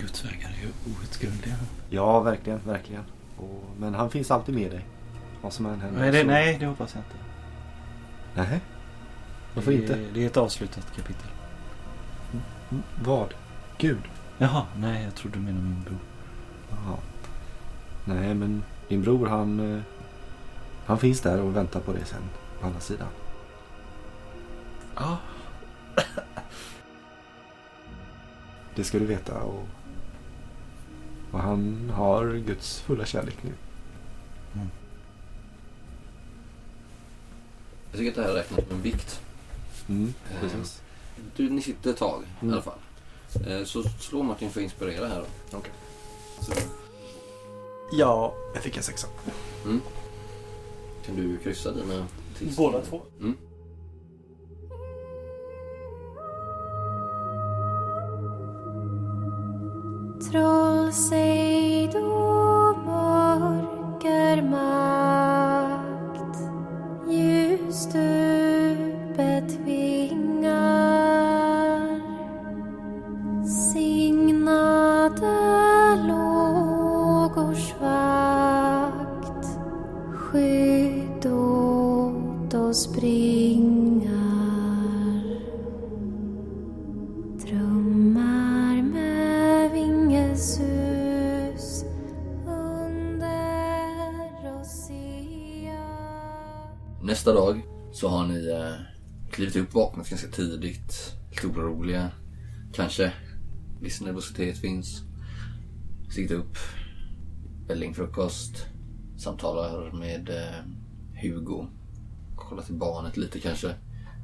Speaker 2: Guds vägar är ju outgrundliga.
Speaker 3: ja, verkligen, verkligen. Och, men han finns alltid med dig. Vad som än händer.
Speaker 2: Nej det,
Speaker 3: så-
Speaker 2: nej, det hoppas jag inte.
Speaker 3: Nej. Varför
Speaker 2: det,
Speaker 3: inte?
Speaker 2: Det är ett avslutat kapitel.
Speaker 3: M- Vad? Gud?
Speaker 2: Jaha, nej jag trodde du menade min bror.
Speaker 3: Jaha. Nej, men din bror han... eh, Han finns där och väntar på dig sen. På andra sidan.
Speaker 2: Ja.
Speaker 3: Det ska du veta och... Och han har Guds fulla kärlek nu.
Speaker 7: Jag tycker att det här räknas som en vikt.
Speaker 3: Mm,
Speaker 7: Eh,
Speaker 3: precis.
Speaker 7: Du, ni sitter ett tag
Speaker 3: Mm.
Speaker 7: i alla fall. Eh, Så slå Martin för att inspirera här då.
Speaker 3: Okej.
Speaker 7: Så
Speaker 8: Ja,
Speaker 3: Jag fick en sexa.
Speaker 7: kan du kryssa dina Mm.
Speaker 10: Båda två.
Speaker 11: Troll sig då mörker makt ljus du betvingar signade lågors vakt skydd åt oss bringar Drömmar med vingesus under ocean
Speaker 7: Nästa dag så har ni eh, klivit upp vaknat ganska tidigt. Lite oroliga. Kanske. Viss nervositet finns. Sitter upp. Vällingfrukost. Samtalar med eh, Hugo. Kollar till barnet lite kanske. Är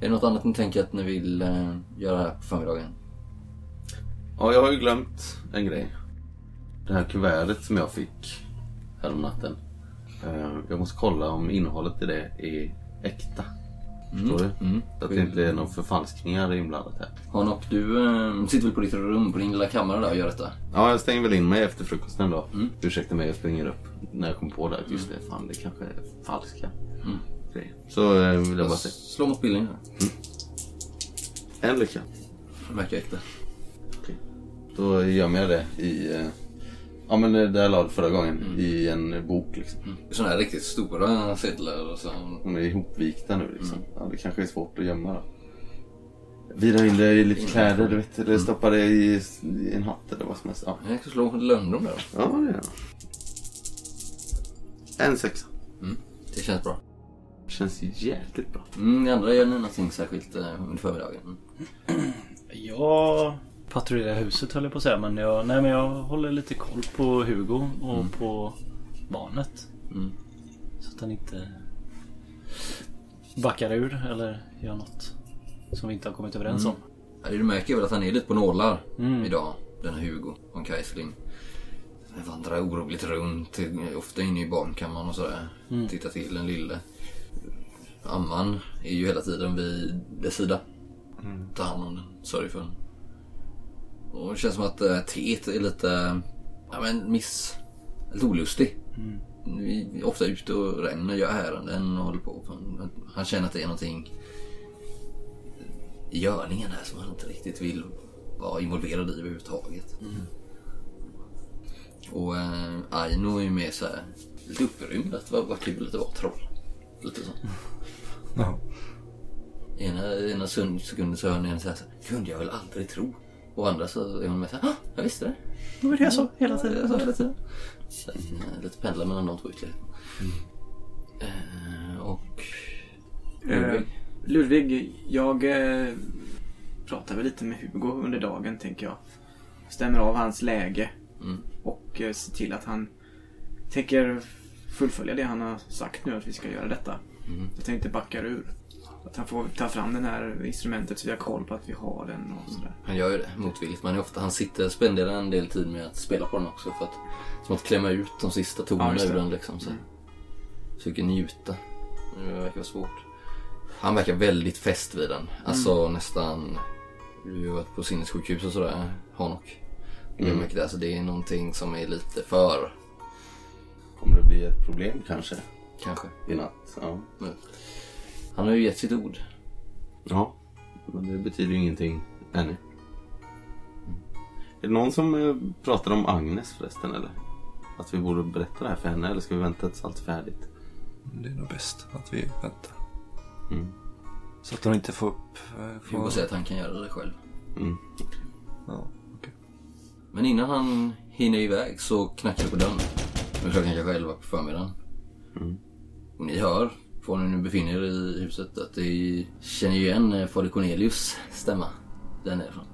Speaker 7: det något annat ni tänker att ni vill eh, göra här på förmiddagen?
Speaker 5: Ja, jag har ju glömt en grej. Det här kuvertet som jag fick häromnatten. Eh, Jag måste kolla om innehållet i det är äkta. Förstår du?
Speaker 7: Mm.
Speaker 5: Så att det inte är några förfalskningar inblandat här.
Speaker 7: Hanop, du eh, sitter väl på ditt rum, på din lilla kammare där och gör detta?
Speaker 5: Ja, jag stänger väl in mig efter frukosten då. Ursäkta mig, jag springer upp när jag kom på det. att Just det, fan det kanske är falska
Speaker 7: Mm.
Speaker 5: grejer. Så eh, vill jag bara säga.
Speaker 7: Slå mot bilden här.
Speaker 5: En lycka.
Speaker 7: Det verkar äkta.
Speaker 5: Då gömmer jag det i... eh, Ja men eh, där jag la det förra gången. I en bok liksom.
Speaker 7: Sådana Mm. här riktigt stora sedlar och så.
Speaker 5: De är ihopvikta nu liksom. Ja, det kanske är svårt att gömma då. Vira in det i lite kläder du vet. Eller stoppa det i, i en hatt eller vad som helst. Ja,
Speaker 7: Jag kan slå lönndom där.
Speaker 5: ja det gör jag. En sexa.
Speaker 7: Det känns bra.
Speaker 5: Känns jäkligt bra.
Speaker 7: Mm, ni andra gör ni någonting särskilt eh, under förmiddagen?
Speaker 2: Jag patrullerar huset höll jag på att säga men jag, nej, men jag håller lite koll på Hugo och på barnet.
Speaker 7: Mm.
Speaker 2: Så att han inte backar ur eller gör något som vi inte har kommit överens om.
Speaker 7: Ja, det du märker är väl att han är lite på nålar
Speaker 2: Mm.
Speaker 7: idag, den här Hugo von Keisling. Han vandrar oroligt runt, till- ofta inne i barnkammaren och sådär.
Speaker 2: Mm.
Speaker 7: Tittar till den lille. Amman är ju hela tiden vid dess sida.
Speaker 2: Mm.
Speaker 7: Tar hand om den, sörjer för den. Och det känns som att äh, teet är lite, ja men miss, lite olustig.
Speaker 2: Mm.
Speaker 7: Vi är ofta ute och regnar, gör ärenden och håller på. Men Han känner att det är någonting i görningen här som han inte riktigt vill vara involverad i överhuvudtaget.
Speaker 2: Mm.
Speaker 7: Och eh, Aino är ju mer så här lite upprymd att vad, vad kul att det var troll. Lite så.
Speaker 3: Ja.
Speaker 7: Ena, ena sekund- sekunden så hör ni henne så här, så här, kunde jag väl aldrig tro. Och andra så är hon med så här, "Ah, jag visste det.
Speaker 2: Det var det jag sa hela
Speaker 7: Ja, jag
Speaker 2: tiden.
Speaker 7: sa hela tiden. Så, eh, lite pendlar mellan de två ytterligheterna.
Speaker 2: Mm.
Speaker 7: Eh, och...
Speaker 4: Eh, Ludvig, jag eh, pratar väl lite med Hugo under dagen tänker jag. Stämmer av hans läge
Speaker 7: Mm.
Speaker 4: och eh, ser till att han tänker fullfölja det han har sagt nu att vi ska göra detta.
Speaker 7: Mm.
Speaker 4: Att han inte backar ur. Att han får ta fram det här instrumentet så vi har koll på att vi har den och sådär.
Speaker 7: Han gör ju det motvilligt. Men ofta han sitter, spenderar en del tid med att spela på den också. För att, som att klämma ut de sista
Speaker 4: Ja,
Speaker 7: tonerna
Speaker 4: just det. Mm.
Speaker 7: ur den liksom. Så. Försöker njuta. Det verkar vara svårt. Han verkar väldigt fäst vid den. Alltså
Speaker 4: Mm.
Speaker 7: nästan... Du har ju varit på sinnessjukhus och sådär, Hanok. Mm.
Speaker 5: Mm.
Speaker 7: Jag märker det. Alltså, det är någonting som är lite för,
Speaker 5: Kommer det bli ett problem kanske?
Speaker 7: kanske.
Speaker 5: I natt? Ja.
Speaker 7: Men Han har ju gett sitt ord.
Speaker 5: Ja, men det betyder ju ingenting ännu. Är det någon som eh, pratar om Agnes förresten eller? Att vi borde berätta det här för henne eller ska vi vänta tills allt är färdigt?
Speaker 12: Det är nog bäst att vi väntar.
Speaker 5: Mm.
Speaker 12: Så att de inte får upp... eh, Får...
Speaker 7: Hugo säger att han kan göra det själv.
Speaker 5: Mm.
Speaker 12: Ja.
Speaker 7: Men innan han hinner iväg så knackar det på dörren. Nu är klockan kanske elva på förmiddagen.
Speaker 5: Mm.
Speaker 7: Och ni hör, från hur ni befinner er i huset, att ni känner ju igen eh, fader Cornelius stämma. Den är från.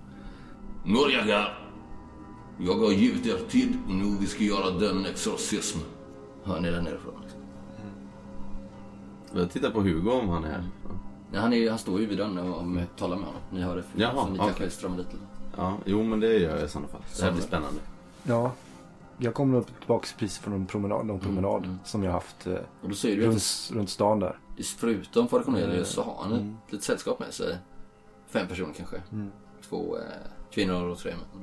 Speaker 9: Norjaga, jag har givit er tid nu vi ska göra den exorcism.
Speaker 7: Hör ni den nerifrån? Liksom.
Speaker 5: Jag tittar på Hugo om han är här.
Speaker 7: Nej, han, är, han står ju vid dörren och om, talar med honom. Ni hör det från,
Speaker 5: Jaha,
Speaker 7: så ni
Speaker 5: okej.
Speaker 7: kanske strömmar dit lite.
Speaker 5: Ja, jo men det gör jag i sådana fall. Det här blir spännande.
Speaker 3: Ja. Jag kom nog tillbaka precis från en promenad, någon promenad som jag haft eh,
Speaker 7: Och då säger du
Speaker 3: runt,
Speaker 7: att
Speaker 3: runt stan där.
Speaker 7: det- förutom fader Cornelius
Speaker 5: Eh,
Speaker 7: så har han ett
Speaker 3: Mm.
Speaker 7: litet sällskap med sig. Fem personer kanske.
Speaker 3: Mm.
Speaker 7: Två eh, kvinnor och tre män.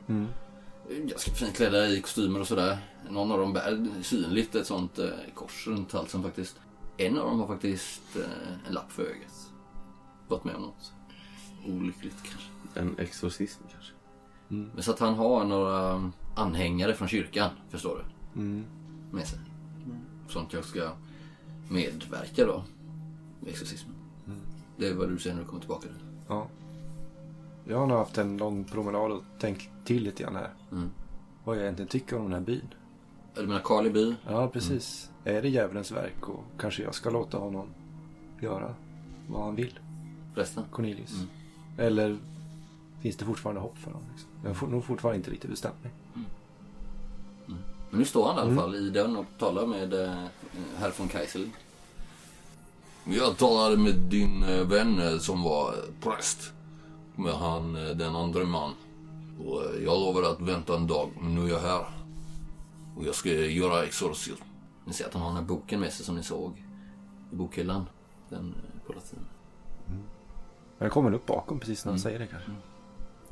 Speaker 3: Mm.
Speaker 7: ganska fint klädda i kostymer och sådär. Någon av dem bär synligt ett sånt eh, kors runt halsen faktiskt. En av dem har faktiskt eh, en lapp för ögat. Varit med om något. Olyckligt kanske.
Speaker 5: En exorcism kanske.
Speaker 7: Men så att han har några anhängare från kyrkan, förstår du,
Speaker 3: Mm.
Speaker 7: med sig. Som jag ska medverka
Speaker 3: Mm.
Speaker 7: då. Med exorcismen. Det är vad du säger när du kommer tillbaka.
Speaker 3: Ja. Jag har nog haft en lång promenad och tänkt till lite grann här.
Speaker 7: Mm.
Speaker 3: Vad jag egentligen tycker om den här byn.
Speaker 7: Du menar Karleby?
Speaker 3: Ja, precis. Är det djävulens verk och kanske jag ska låta honom göra vad han vill.
Speaker 7: Resten?
Speaker 3: Cornelius.
Speaker 7: Mm.
Speaker 3: Eller finns det fortfarande hopp för honom? Liksom? Jag har for- nog fortfarande inte riktigt bestämt mig.
Speaker 7: Men nu står han i alla
Speaker 3: Mm.
Speaker 7: fall i den och talar med eh, herr von Kaiserling.
Speaker 9: Jag talade med din eh, vän eh, som var eh, präst. Med han, eh, den andra man. Och eh, jag lovade att vänta en dag, men nu är jag här. Och jag ska eh, göra exorcism.
Speaker 7: Ni ser att han har den här boken med sig som ni såg i bokhyllan. Den eh, på latin.
Speaker 3: Men jag kommer upp bakom precis
Speaker 7: Mm.
Speaker 3: när han säger det kanske.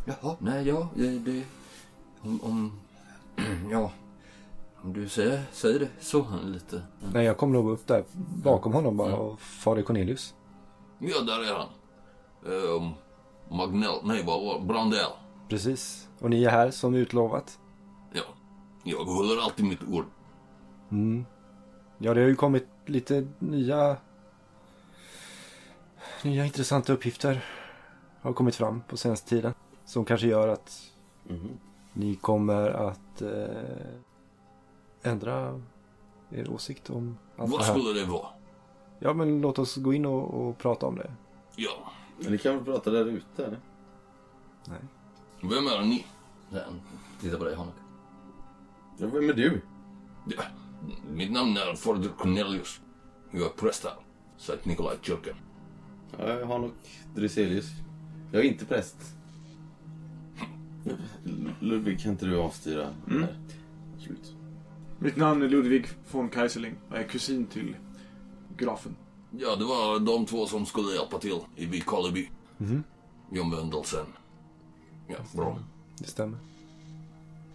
Speaker 7: Jaha, nej ja, det... det om, om... Ja. Om du säger, säger det så han lite.
Speaker 3: Nej, jag kommer nog upp där bakom
Speaker 7: Mm.
Speaker 3: honom bara och fader Cornelius.
Speaker 9: Ja, där är han. Um, Magnell, nej vad var Brandell.
Speaker 3: Precis. Och ni är här som utlovat.
Speaker 9: Ja, jag håller alltid mitt ord.
Speaker 3: Mm. Ja, det har ju kommit lite nya... Nya intressanta uppgifter. Har kommit fram på senaste tiden. Som kanske gör att
Speaker 9: Mm-hmm.
Speaker 3: ni kommer att eh, ändra er åsikt om allt
Speaker 9: Vad
Speaker 3: det här.
Speaker 9: skulle det vara?
Speaker 3: Ja, men låt oss gå in och, och prata om det.
Speaker 9: Ja.
Speaker 5: Men ni kan väl prata där ute eller?
Speaker 3: Nej.
Speaker 9: Vem är ni?
Speaker 7: Den. Titta på dig Hanok.
Speaker 5: Ja, vem är du?
Speaker 9: Ja, mitt namn är Fader Cornelius. Jag är präst här. Sankt Nikolajkyrkan.
Speaker 5: Jag har nog Dryselius. Jag är inte präst. Ludvig, kan inte du avstyra det
Speaker 6: Mm.
Speaker 5: här? Slut.
Speaker 6: Mitt namn är Ludvig von Kaiserling och jag är kusin till grafen.
Speaker 9: Ja, det var de två som skulle hjälpa till i vid Karleby.
Speaker 3: Mhm.
Speaker 9: John Wendelsen. Ja, bra.
Speaker 3: Det stämmer.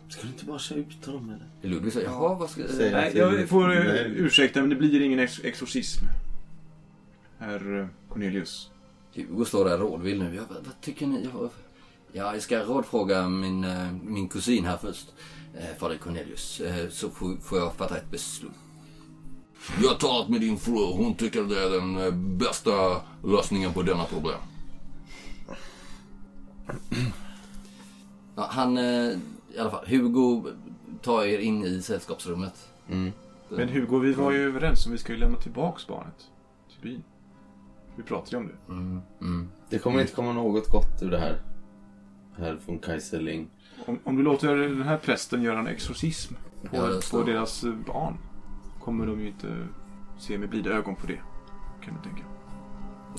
Speaker 5: Ska du inte bara köra ut honom eller?
Speaker 7: Ludvig säger, jaha vad ska...
Speaker 6: Nej, jag får eh, ursäkta men det blir ingen ex- exorcism. Herr eh, Cornelius.
Speaker 7: Hugo står där rådvill nu. Jag, vad, vad tycker ni? Jag, ja, jag ska rådfråga min, eh, min kusin här först. Eh, Fader Cornelius. Eh, så får, får jag fatta ett beslut.
Speaker 9: Jag har talat med din fru. Hon tycker det är den eh, bästa lösningen på denna problem.
Speaker 7: Ja, han, eh, i alla fall, Hugo tar er in i sällskapsrummet.
Speaker 6: Mm. Men Hugo, vi var ju överens om vi skulle lämna tillbaks barnet till byn. Vi pratade ju om det.
Speaker 7: Mm,
Speaker 5: Det
Speaker 6: Mm.
Speaker 5: kommer inte komma något gott ur det här. Herr von Kaiserling.
Speaker 6: Om, om du låter den här prästen göra en exorcism på,
Speaker 5: Ja, det
Speaker 6: på
Speaker 5: står.
Speaker 6: deras eh, barn kommer de ju inte se med blida ögon på det. Kan du tänka.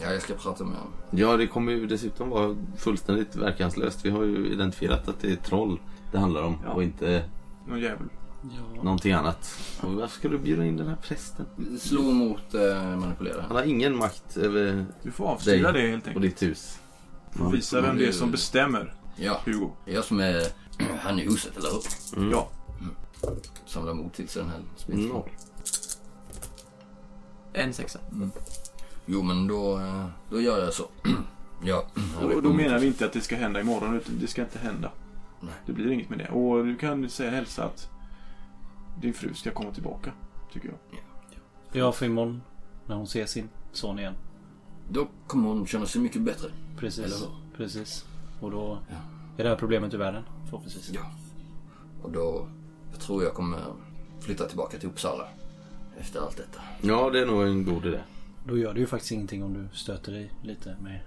Speaker 7: Ja, jag ska prata med honom.
Speaker 5: Ja, det kommer ju dessutom vara fullständigt verkanslöst. Vi har ju identifierat att det är troll det handlar om och inte
Speaker 6: Någon jävel.
Speaker 5: någonting annat. Och varför ska du bjuda in den här prästen?
Speaker 7: Slå mot eh, manipulera.
Speaker 5: Han har ingen makt över
Speaker 6: Du får avstyra det helt
Speaker 5: och
Speaker 6: enkelt.
Speaker 5: ditt hus.
Speaker 6: Du får visa vem det är som bestämmer.
Speaker 7: Ja,
Speaker 6: Hugo.
Speaker 7: Jag som är han i huset, eller hur?
Speaker 5: Mm.
Speaker 6: Ja.
Speaker 7: Mm. Samlar mod till sig den här spindeln.
Speaker 5: Mm.
Speaker 4: En sexa.
Speaker 7: Jo, men då, eh, då gör jag så. ja.
Speaker 6: Och och då menar vi inte att det ska hända imorgon, utan det ska inte hända. Det blir inget med det. Och du kan säga hälsa att din fru ska komma tillbaka, tycker jag.
Speaker 2: Ja, för imorgon när hon ser sin son igen.
Speaker 7: Då kommer hon känna sig mycket bättre.
Speaker 2: Precis.
Speaker 7: Eller hur?
Speaker 2: Precis. Och då är det här problemet ur världen förhoppningsvis.
Speaker 7: Ja. Och då jag tror jag kommer flytta tillbaka till Uppsala efter allt detta.
Speaker 5: Ja, det är nog en god idé.
Speaker 2: Då gör det ju faktiskt ingenting om du stöter dig lite med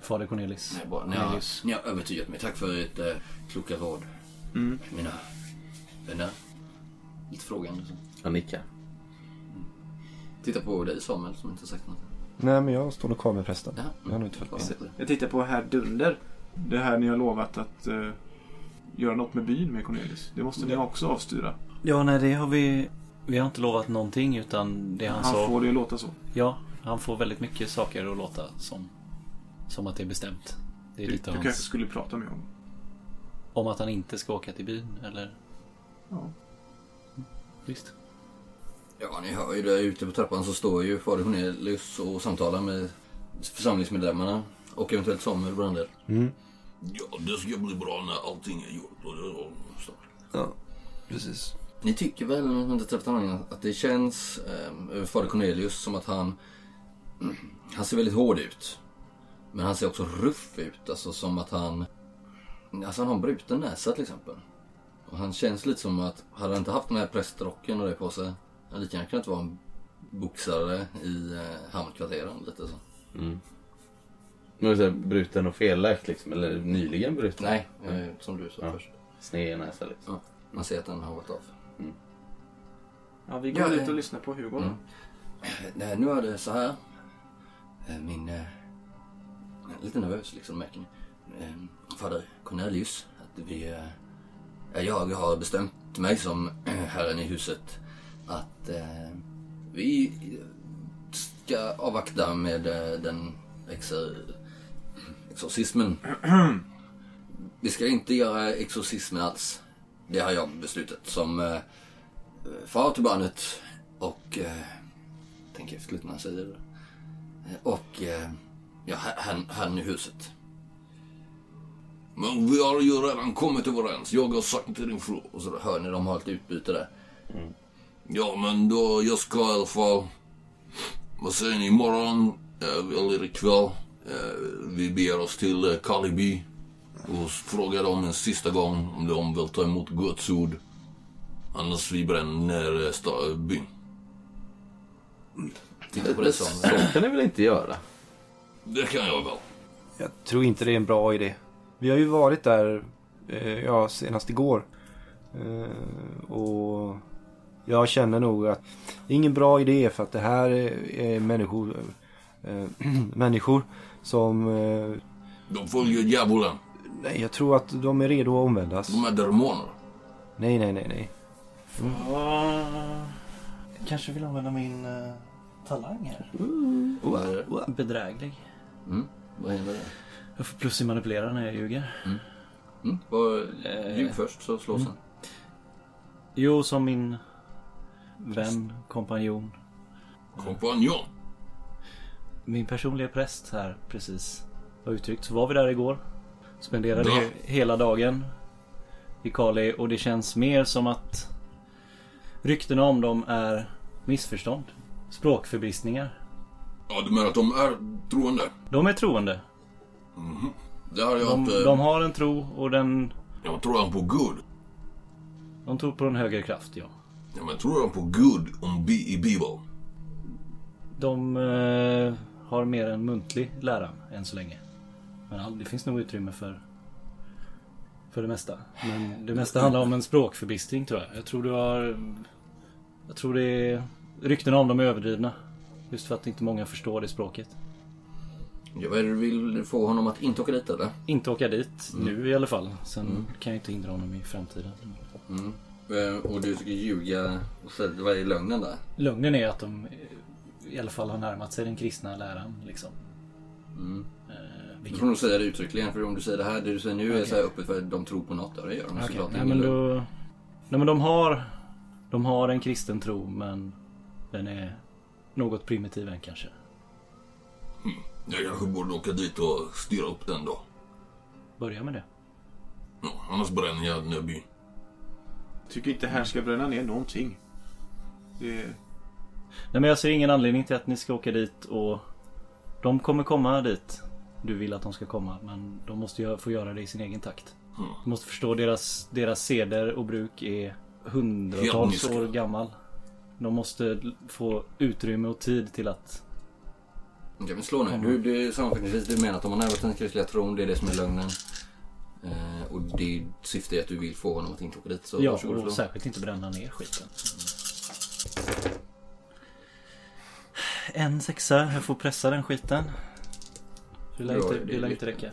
Speaker 2: fader Cornelis.
Speaker 7: Nej, bra. Ni, har,
Speaker 2: Cornelius.
Speaker 7: ni har övertygat mig. Tack för ert eh, kloka råd.
Speaker 6: Mm.
Speaker 7: Mina vänner. Lite frågande. så.
Speaker 5: Jag nickar.
Speaker 7: Titta på dig Samuel som inte har sagt något.
Speaker 3: Nej, men jag står nog kvar med prästen. Jag har nog inte
Speaker 7: Bara
Speaker 3: följt med.
Speaker 7: sitter.
Speaker 6: Jag tittar på herr Dunder. Det här ni har lovat att eh, göra något med byn med Cornelis. Det måste ni också avstyra.
Speaker 2: Ja, nej det har vi... Vi har inte lovat någonting utan det han,
Speaker 6: Han
Speaker 2: sa...
Speaker 6: får det att låta så.
Speaker 2: Ja, han får väldigt mycket saker att låta som, som att det är bestämt. Det är
Speaker 6: Du, du
Speaker 2: lite
Speaker 6: kanske
Speaker 2: hans...
Speaker 6: skulle prata med honom.
Speaker 2: Om att han inte ska åka till byn eller?
Speaker 6: Ja.
Speaker 2: Visst.
Speaker 7: Ja, ni hör ju där ute på trappan så står ju fader Cornelius och samtalar med församlingsmedlemmarna och eventuellt Samuel Brandel.
Speaker 9: Ja, det ska bli bra när allting är gjort. Och det är snart.
Speaker 12: Ja, precis.
Speaker 7: Ni tycker väl under träfftalangen att det känns ehm, eh, över fader Cornelius som att han... Mm, han ser väldigt hård ut. Men han ser också ruff ut, alltså som att han... Alltså han har en bruten näsa till exempel. Och han känns lite som att, hade han inte haft den här prästrocken och det på sig, hade han lika gärna kunnat vara en boxare i eh, hamnkvarteren lite så.
Speaker 5: Mm. Men så här, bruten och felläkt liksom, eller nyligen bruten?
Speaker 7: Nej, eh, som du sa först.
Speaker 5: Sned näsa liksom.
Speaker 7: Man ser att den har gått av.
Speaker 4: Ja, vi går
Speaker 7: Ja,
Speaker 4: ut
Speaker 7: eh.
Speaker 4: och lyssnar på Hugo.
Speaker 7: Mm. Nej, nu är det så här. Eh, Min... eh, jag är lite nervös liksom märker ni. Eh, Fader Cornelius, att vi... eh, ja, Jag har bestämt mig som eh, herren i huset att eh, vi ska avvakta med eh, den exor- exorcismen. Vi ska inte göra exorcismen alls. Det har jag beslutat som eh, far till barnet och eh, tänker efter lite när han säger det. Eh, Och eh, ja, här- här, här i huset.
Speaker 9: Men vi har ju redan kommit överens. Jag har sagt till din fru.
Speaker 7: Och så hör ni de har ett utbyte där. Mm.
Speaker 9: Ja, men då, jag ska i alla fall... Vad säger ni? Imorgon, eh, eller ikväll, eh, vi beger oss till eh, Kalibi och s- frågar dem en sista gång om de vill ta emot Guds ord. Annars vi bränner eh, sta- byn.
Speaker 7: Titta på det som...
Speaker 5: Det kan ni väl inte göra?
Speaker 9: Det kan jag väl.
Speaker 3: Jag tror inte det är en bra idé. Vi har ju varit där eh, ja, senast igår. Eh, och jag känner nog att det är ingen bra idé för att det här är, är människor, eh, människor som... Eh,
Speaker 9: De följer djävulen.
Speaker 3: nej, jag tror att de är redo att omvändas.
Speaker 9: De är demoner.
Speaker 3: Nej, nej, nej, nej.
Speaker 10: Jag Ah. kanske vill använda min eh, talang här. Bedräglig.
Speaker 7: Mm. Vad händer där?
Speaker 10: Jag får plus i manipulera när jag ljuger. Eh,
Speaker 7: Mm. Vad- Ljug först så slås han.
Speaker 2: Jo, som min vän, kompanjon.
Speaker 9: Kompanjon?
Speaker 2: Min personliga präst här precis har uttryckt. Så var vi där igår. Spenderade
Speaker 9: Ja.
Speaker 2: he- hela dagen i Kali och det känns mer som att ryktena om dem är missförstånd. Språkförbristningar.
Speaker 9: Ja, du menar att de är troende?
Speaker 2: De är troende.
Speaker 9: Det har jag
Speaker 2: De,
Speaker 9: inte...
Speaker 2: de har en tro och den...
Speaker 9: Jag tror han på Gud.
Speaker 2: De tror på en högre kraft, ja.
Speaker 9: Ja, men tror han på Gud om bi- i Bibeln?
Speaker 2: De eh, har mer en muntlig läran än så länge. Men all, det finns nog utrymme för, för det mesta. Men det mesta handlar om en språkförbistring tror jag. Jag tror du har... Jag tror det är... Ryktena om dem är överdrivna. Just för att inte många förstår det språket.
Speaker 7: Ja, vad är det du vill få honom att inte åka dit eller?
Speaker 2: Inte åka dit
Speaker 7: Mm.
Speaker 2: nu i alla fall. Sen
Speaker 7: Mm.
Speaker 2: kan jag inte hindra honom i framtiden.
Speaker 7: Mm. Eh, Och du ska ljuga och säga, vad är lögnen där?
Speaker 2: Lögnen är att de eh, i alla fall har närmat sig den kristna läran. Liksom.
Speaker 7: Mm. Du
Speaker 2: vilket-
Speaker 7: får nog säga det uttryckligen för om du säger det här, det du säger nu är
Speaker 2: Okej.
Speaker 7: så här öppet för att de tror på något. Ja, det gör de
Speaker 2: Okej,
Speaker 7: såklart.
Speaker 2: Nej,
Speaker 7: Ingen
Speaker 2: men
Speaker 7: lögn.
Speaker 2: då, nej men de har, de har en kristen tro men den är något primitiv än kanske.
Speaker 9: Jag kanske borde åka dit och styra upp den då.
Speaker 2: Börja med det.
Speaker 9: Ja, annars bränner jag den här byn.
Speaker 6: Tycker inte här ska bränna ner någonting. Det är...
Speaker 2: Nej men jag ser ingen anledning till att ni ska åka dit och de kommer komma dit du vill att de ska komma men de måste ju få göra det i sin egen takt.
Speaker 9: Mm.
Speaker 2: Du måste förstå deras, deras seder och bruk är hundratals
Speaker 9: Hedniska.
Speaker 2: år gammal. De måste l- få utrymme och tid till att...
Speaker 7: Okej, men slå nu.
Speaker 2: Komma.
Speaker 7: Du, du, sammanfattningsvis, du menar att de har närmat den kristliga tron, det är det som är lögnen. Eh, och det syftet är att du vill få honom att inte åka dit. Så
Speaker 2: ja,
Speaker 7: varsågod, slå.
Speaker 2: och särskilt inte bränna ner skiten. En sexa, jag får pressa den skiten. Det lär
Speaker 7: Ja,
Speaker 2: inte,
Speaker 7: det-
Speaker 2: det lär inte räcka.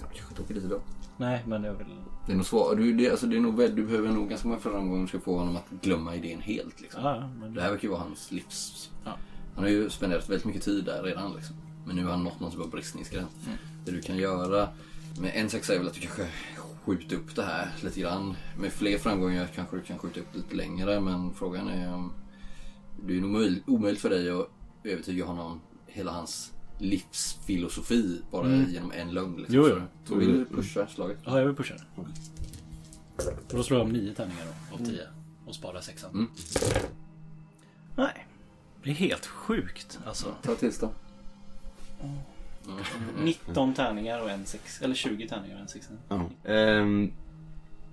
Speaker 7: Jag kanske inte åker dit idag.
Speaker 2: Nej, men jag vill...
Speaker 7: Det är nog svårt. Du, det, alltså, det är nog, väl- du behöver nog ganska många framgångar om du ska få honom att glömma idén helt. Liksom.
Speaker 2: Ja, ja, men-
Speaker 7: Det här verkar ju vara hans livs...
Speaker 2: Ja.
Speaker 7: Han har ju spenderat väldigt mycket tid där redan. Liksom. Men nu har han nått någon typ av bristningsgräns. Det du kan göra med en sexa är väl att du kanske skjuter upp det här lite grann. Med fler framgångar kanske du kan skjuta upp det lite längre. Men frågan är om... Det är nog omöjligt, omöjligt för dig att övertyga honom hela hans livsfilosofi bara
Speaker 2: Mm.
Speaker 7: genom en lögn. Liksom.
Speaker 2: Jo, jo.
Speaker 7: Så vill du pusha slaget?
Speaker 2: Ja, jag vill pusha den. Och då slår jag om nio tärningar då, av tio. Och sparar sexan.
Speaker 7: Mm.
Speaker 2: Nej. Det är helt sjukt alltså.
Speaker 7: Ta tills då.
Speaker 1: 19 tärningar och en sex. Eller 20 tärningar och en sexa.
Speaker 5: Ja. Ehm,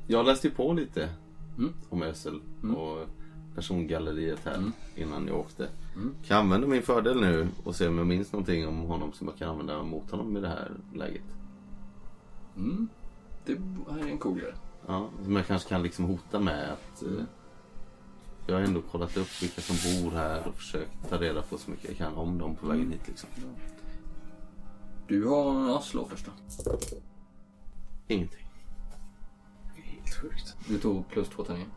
Speaker 5: jag läste ju på lite
Speaker 7: Mm.
Speaker 5: om Ösel och persongalleriet här innan jag åkte.
Speaker 7: Mm.
Speaker 5: Kan jag använda min fördel nu och se om jag minns någonting om honom som jag kan använda mot honom i det här läget?
Speaker 7: Mm. Det här är en cool grej.
Speaker 5: Ja, som jag kanske kan liksom hota med att
Speaker 7: Mm.
Speaker 5: eh, jag har ändå kollat upp vilka som bor här och försökt ta reda på så mycket jag kan om dem på vägen
Speaker 7: Mm.
Speaker 5: hit. Liksom.
Speaker 7: Du har... Ja, slå först då.
Speaker 5: Ingenting.
Speaker 4: Helt sjukt.
Speaker 7: Du tog plus två tärningar.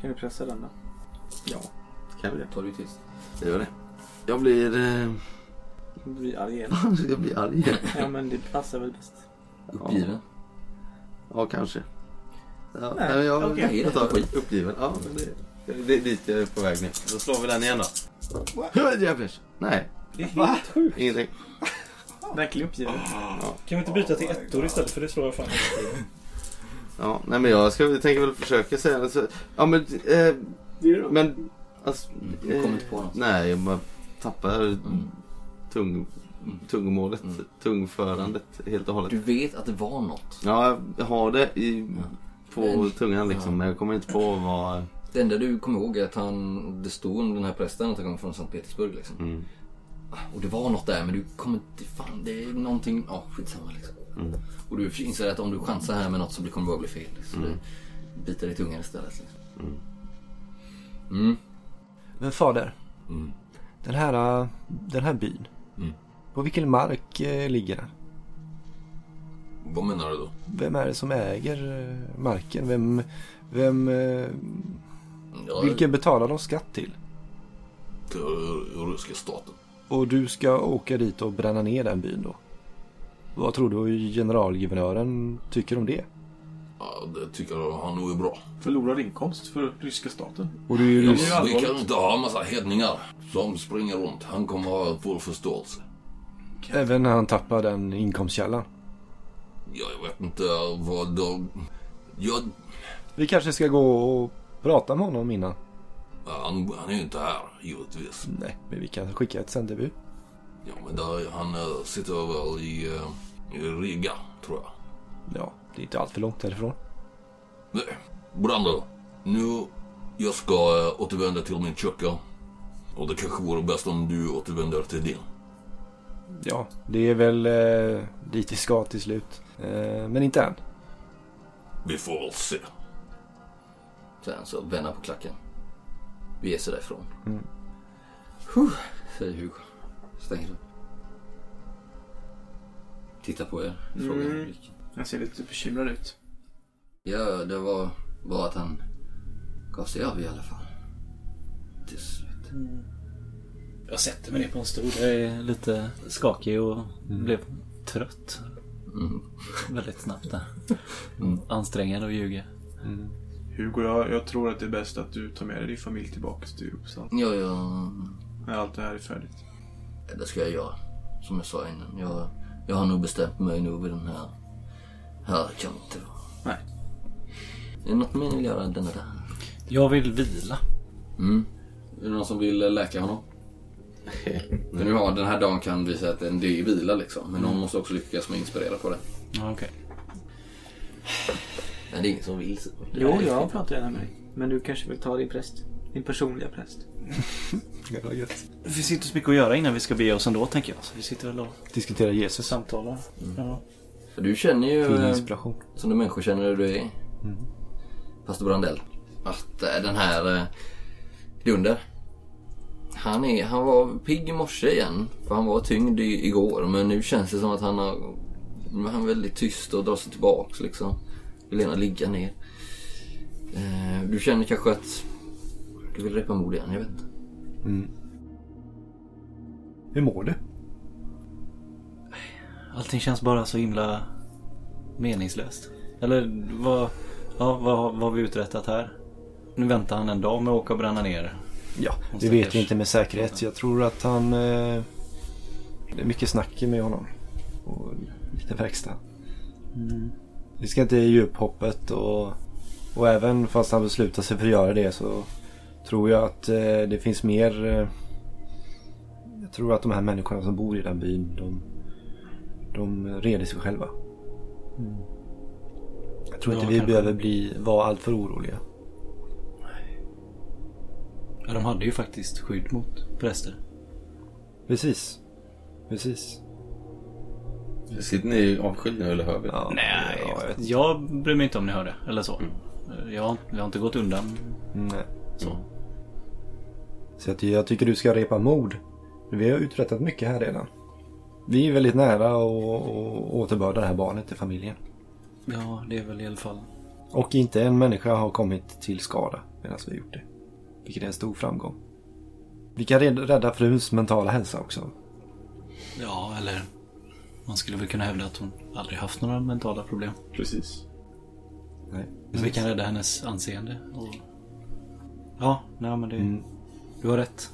Speaker 4: Kan vi pressa den då? Ja.
Speaker 5: Kan vi det?
Speaker 7: Tar du tills.
Speaker 5: Det gör det. Jag blir... Eh,
Speaker 4: Du blir arg igen.
Speaker 5: jag blir arg igen.
Speaker 4: ja men det passar väl bäst.
Speaker 7: Uppgiven.
Speaker 5: Ja, kanske. Ja,
Speaker 4: Nej,
Speaker 5: nej, jag,
Speaker 4: okej.
Speaker 5: jag tar skit. Uppgiven. Ja, men det, det, det är dit jag är på väg nu. Då slår vi den igen då. Jävlar. Nej.
Speaker 1: Det är helt sjukt.
Speaker 5: Ingenting.
Speaker 4: Verkligen uppgiven.
Speaker 5: Ah.
Speaker 1: Kan vi inte byta till ettor istället för det slår jag fan
Speaker 5: Ja, nej men jag ska, tänker väl försöka säga det. så- Ja men... Eh, men... Alltså,
Speaker 7: Du kommer inte på något. Mm.
Speaker 5: Nej, jag bara tappar tung, tungomålet. Tungförandet helt och hållet.
Speaker 7: Du vet att det var något.
Speaker 5: Ja, jag har det i, på
Speaker 7: Men-
Speaker 5: tungan liksom.
Speaker 7: ja.
Speaker 5: Men jag kommer inte på vad...
Speaker 7: Det enda du kommer ihåg är att han, det stod om den här prästen att han kom från Sankt Petersburg. Liksom.
Speaker 5: Mm.
Speaker 7: Och det var något där men du kommer inte... Fan, det är någonting... Ja, skitsamma liksom.
Speaker 5: Mm.
Speaker 7: Och du inser att om du chansar här med något så kommer det bara bli fel. Så
Speaker 5: Mm.
Speaker 7: du biter i tungan istället. Liksom.
Speaker 5: Mm.
Speaker 7: Mm.
Speaker 3: Men fader.
Speaker 9: Mm.
Speaker 3: Den här, äh, den här byn.
Speaker 9: Mm.
Speaker 3: På vilken mark eh, ligger den?
Speaker 9: Vad menar du då?
Speaker 3: Vem är det som äger eh, marken? Vem, vem, eh, vilken betalar de skatt till?
Speaker 9: Till r- ryska staten.
Speaker 3: Och du ska åka dit och bränna ner den byn då? Vad tror du generalguvernören tycker om det?
Speaker 9: Ja, det tycker jag han nog är bra.
Speaker 6: Förlorar inkomst för ryska staten.
Speaker 3: Och du är ju
Speaker 9: Ja,
Speaker 3: ryss.
Speaker 9: men vi kan inte ha en massa hedningar som springer runt. Han kommer ha vår förståelse.
Speaker 3: Även när han tappar den inkomstkällan.
Speaker 9: Ja, Jag vet inte vad de... Jag...
Speaker 3: Vi kanske ska gå och prata med honom innan.
Speaker 9: Han, han är ju inte här, givetvis.
Speaker 3: Nej, men vi kan skicka ett sändebud.
Speaker 9: Ja, men där, han eh, sitter väl i, eh, i Riga, tror jag.
Speaker 3: Ja, det är inte allt för långt därifrån.
Speaker 9: Nej, Brando. Nu, jag ska eh, återvända till min kyrka. Och det kanske vore bäst om du återvänder till din.
Speaker 3: Ja, det är väl eh, dit vi ska till slut. Eh, men inte än.
Speaker 9: Vi får väl se.
Speaker 7: Sen så vända på klacken. Bege sig därifrån.
Speaker 3: Mm.
Speaker 7: Huh, säger Hugo. Stänger upp. Titta på er. Frågar
Speaker 4: Mm.
Speaker 7: blick.
Speaker 4: Han ser lite bekymrad ut.
Speaker 7: Ja, det var, var att han gav sig av i alla fall. Till slut.
Speaker 1: Jag sätter mig ner på en stol.
Speaker 2: Jag är lite skakig och blev trött.
Speaker 7: Mm.
Speaker 2: Väldigt snabbt där. Ansträngad att ljuga.
Speaker 3: Mm.
Speaker 6: Hugo, jag, jag tror att det är bäst att du tar med dig din familj tillbaka till Uppsala.
Speaker 7: Ja, ja,
Speaker 6: När allt det här är färdigt.
Speaker 7: det ska jag göra. Som jag sa innan. Jag, jag har nog bestämt mig nu vid den här. Här kan det inte vara.
Speaker 4: Nej.
Speaker 7: Är det något mer ni vill göra denna där?
Speaker 2: Jag vill vila.
Speaker 7: Mm. Är det någon som vill eh, läka honom? För nu har den här dagen kan vi säga att det är en del vila liksom. Men någon måste också lyckas med att inspirera på det.
Speaker 2: Ja, okej.
Speaker 7: Men det är ingen som vill.
Speaker 4: Jo, jag pratar gärna med dig. Men du kanske vill ta din präst? Din personliga präst?
Speaker 1: Det finns inte så mycket att göra innan vi ska bege oss ändå tänker jag. Så vi sitter väl och
Speaker 3: Diskutera Jesus.
Speaker 1: samtalar. Ja.
Speaker 7: För Du känner ju...
Speaker 3: Fin
Speaker 7: eh,
Speaker 3: inspiration.
Speaker 7: Som du människor känner hur du är.
Speaker 2: Mm.
Speaker 7: Pastor Brandell. Att eh, den här eh, Dunder. Han, är, han var pigg i morse igen. För han var tyngd i, igår. Men nu känns det som att han har... nu är Han är väldigt tyst och drar sig tillbaks liksom. Vill gärna ligga ner. Eh, du känner kanske att du vill repa mod igen. Jag vet inte.
Speaker 3: Mm. Hur mår du?
Speaker 2: Allting känns bara så himla meningslöst. Eller vad, ja, vad, vad har vi uträttat här? Nu väntar han en dag med att åka och bränna ner.
Speaker 3: Ja,
Speaker 2: Och
Speaker 3: det
Speaker 2: stackars-
Speaker 3: vet vi inte med säkerhet. Jag tror att han... Eh, det är mycket snack med honom. Och lite verkstad.
Speaker 2: Mm.
Speaker 3: Vi ska inte ge upp hoppet och, och även fast han beslutar sig för att göra det så tror jag att eh, det finns mer... Eh, jag tror att de här människorna som bor i den byn de, De reder sig själva.
Speaker 2: Mm.
Speaker 3: Jag tror
Speaker 2: Ja,
Speaker 3: inte vi
Speaker 2: kanske.
Speaker 3: behöver bli, vara alltför oroliga.
Speaker 2: Ja, de hade ju faktiskt skydd mot präster.
Speaker 3: Precis. Precis.
Speaker 5: Sitter ni avskilda nu eller hör vi? Ja.
Speaker 2: Nej, jag, bryr mig inte Mm. om ni hör det. Eller så. Jag, jag har inte gått undan.
Speaker 3: Nej. Mm.
Speaker 2: Så.
Speaker 3: Så jag, ty- jag tycker du ska repa mod. Vi har uträttat mycket här redan. Vi är väldigt nära att att återbörda det här barnet till familjen.
Speaker 2: Ja, det är väl i alla fall.
Speaker 3: Och inte en människa har kommit till skada medan vi har gjort det. Vilket är en stor framgång. Vi kan red- rädda fruns mentala hälsa också.
Speaker 2: Ja, eller man skulle väl kunna hävda att hon aldrig haft några mentala problem.
Speaker 13: Precis.
Speaker 3: Nej.
Speaker 2: Men vi kan rädda hennes anseende. Och... Ja, nej men det...
Speaker 3: Mm.
Speaker 2: Du har rätt.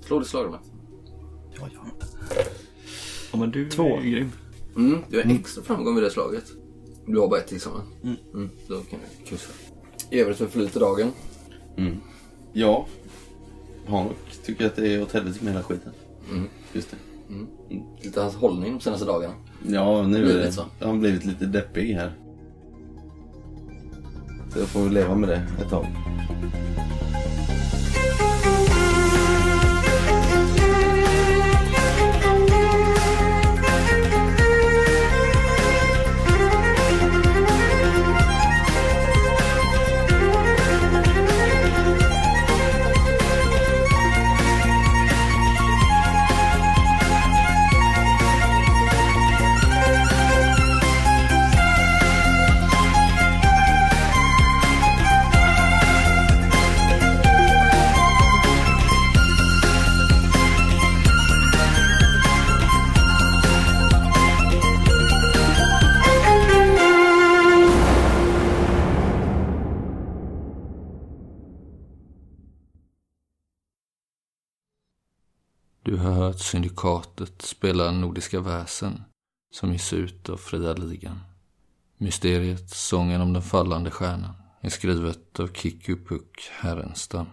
Speaker 7: Slå ditt slag då Mats.
Speaker 3: Ja, ja.
Speaker 2: Ja, men du
Speaker 3: Två.
Speaker 2: är ju grym.
Speaker 7: Mm, du har extra framgång med det slaget. Du har bara ett till samma. Mm. då kan du kryssa. I övrigt förflyter dagen.
Speaker 5: Mm. Ja. Hanok tycker att det är åt helvete med hela skiten.
Speaker 7: Mm.
Speaker 5: Just det.
Speaker 7: Lite hans hållning de senaste dagarna.
Speaker 5: Ja, nu är
Speaker 7: Livet
Speaker 5: det,
Speaker 7: så.
Speaker 5: jag har blivit lite deppig här. Så jag får väl leva med det ett tag.
Speaker 1: Du har hört Syndikatet spela Nordiska väsen som ges ut av Fria Ligan. Mysteriet Sången om den fallande stjärnan är skrivet av Kiku Puck Herrenstam.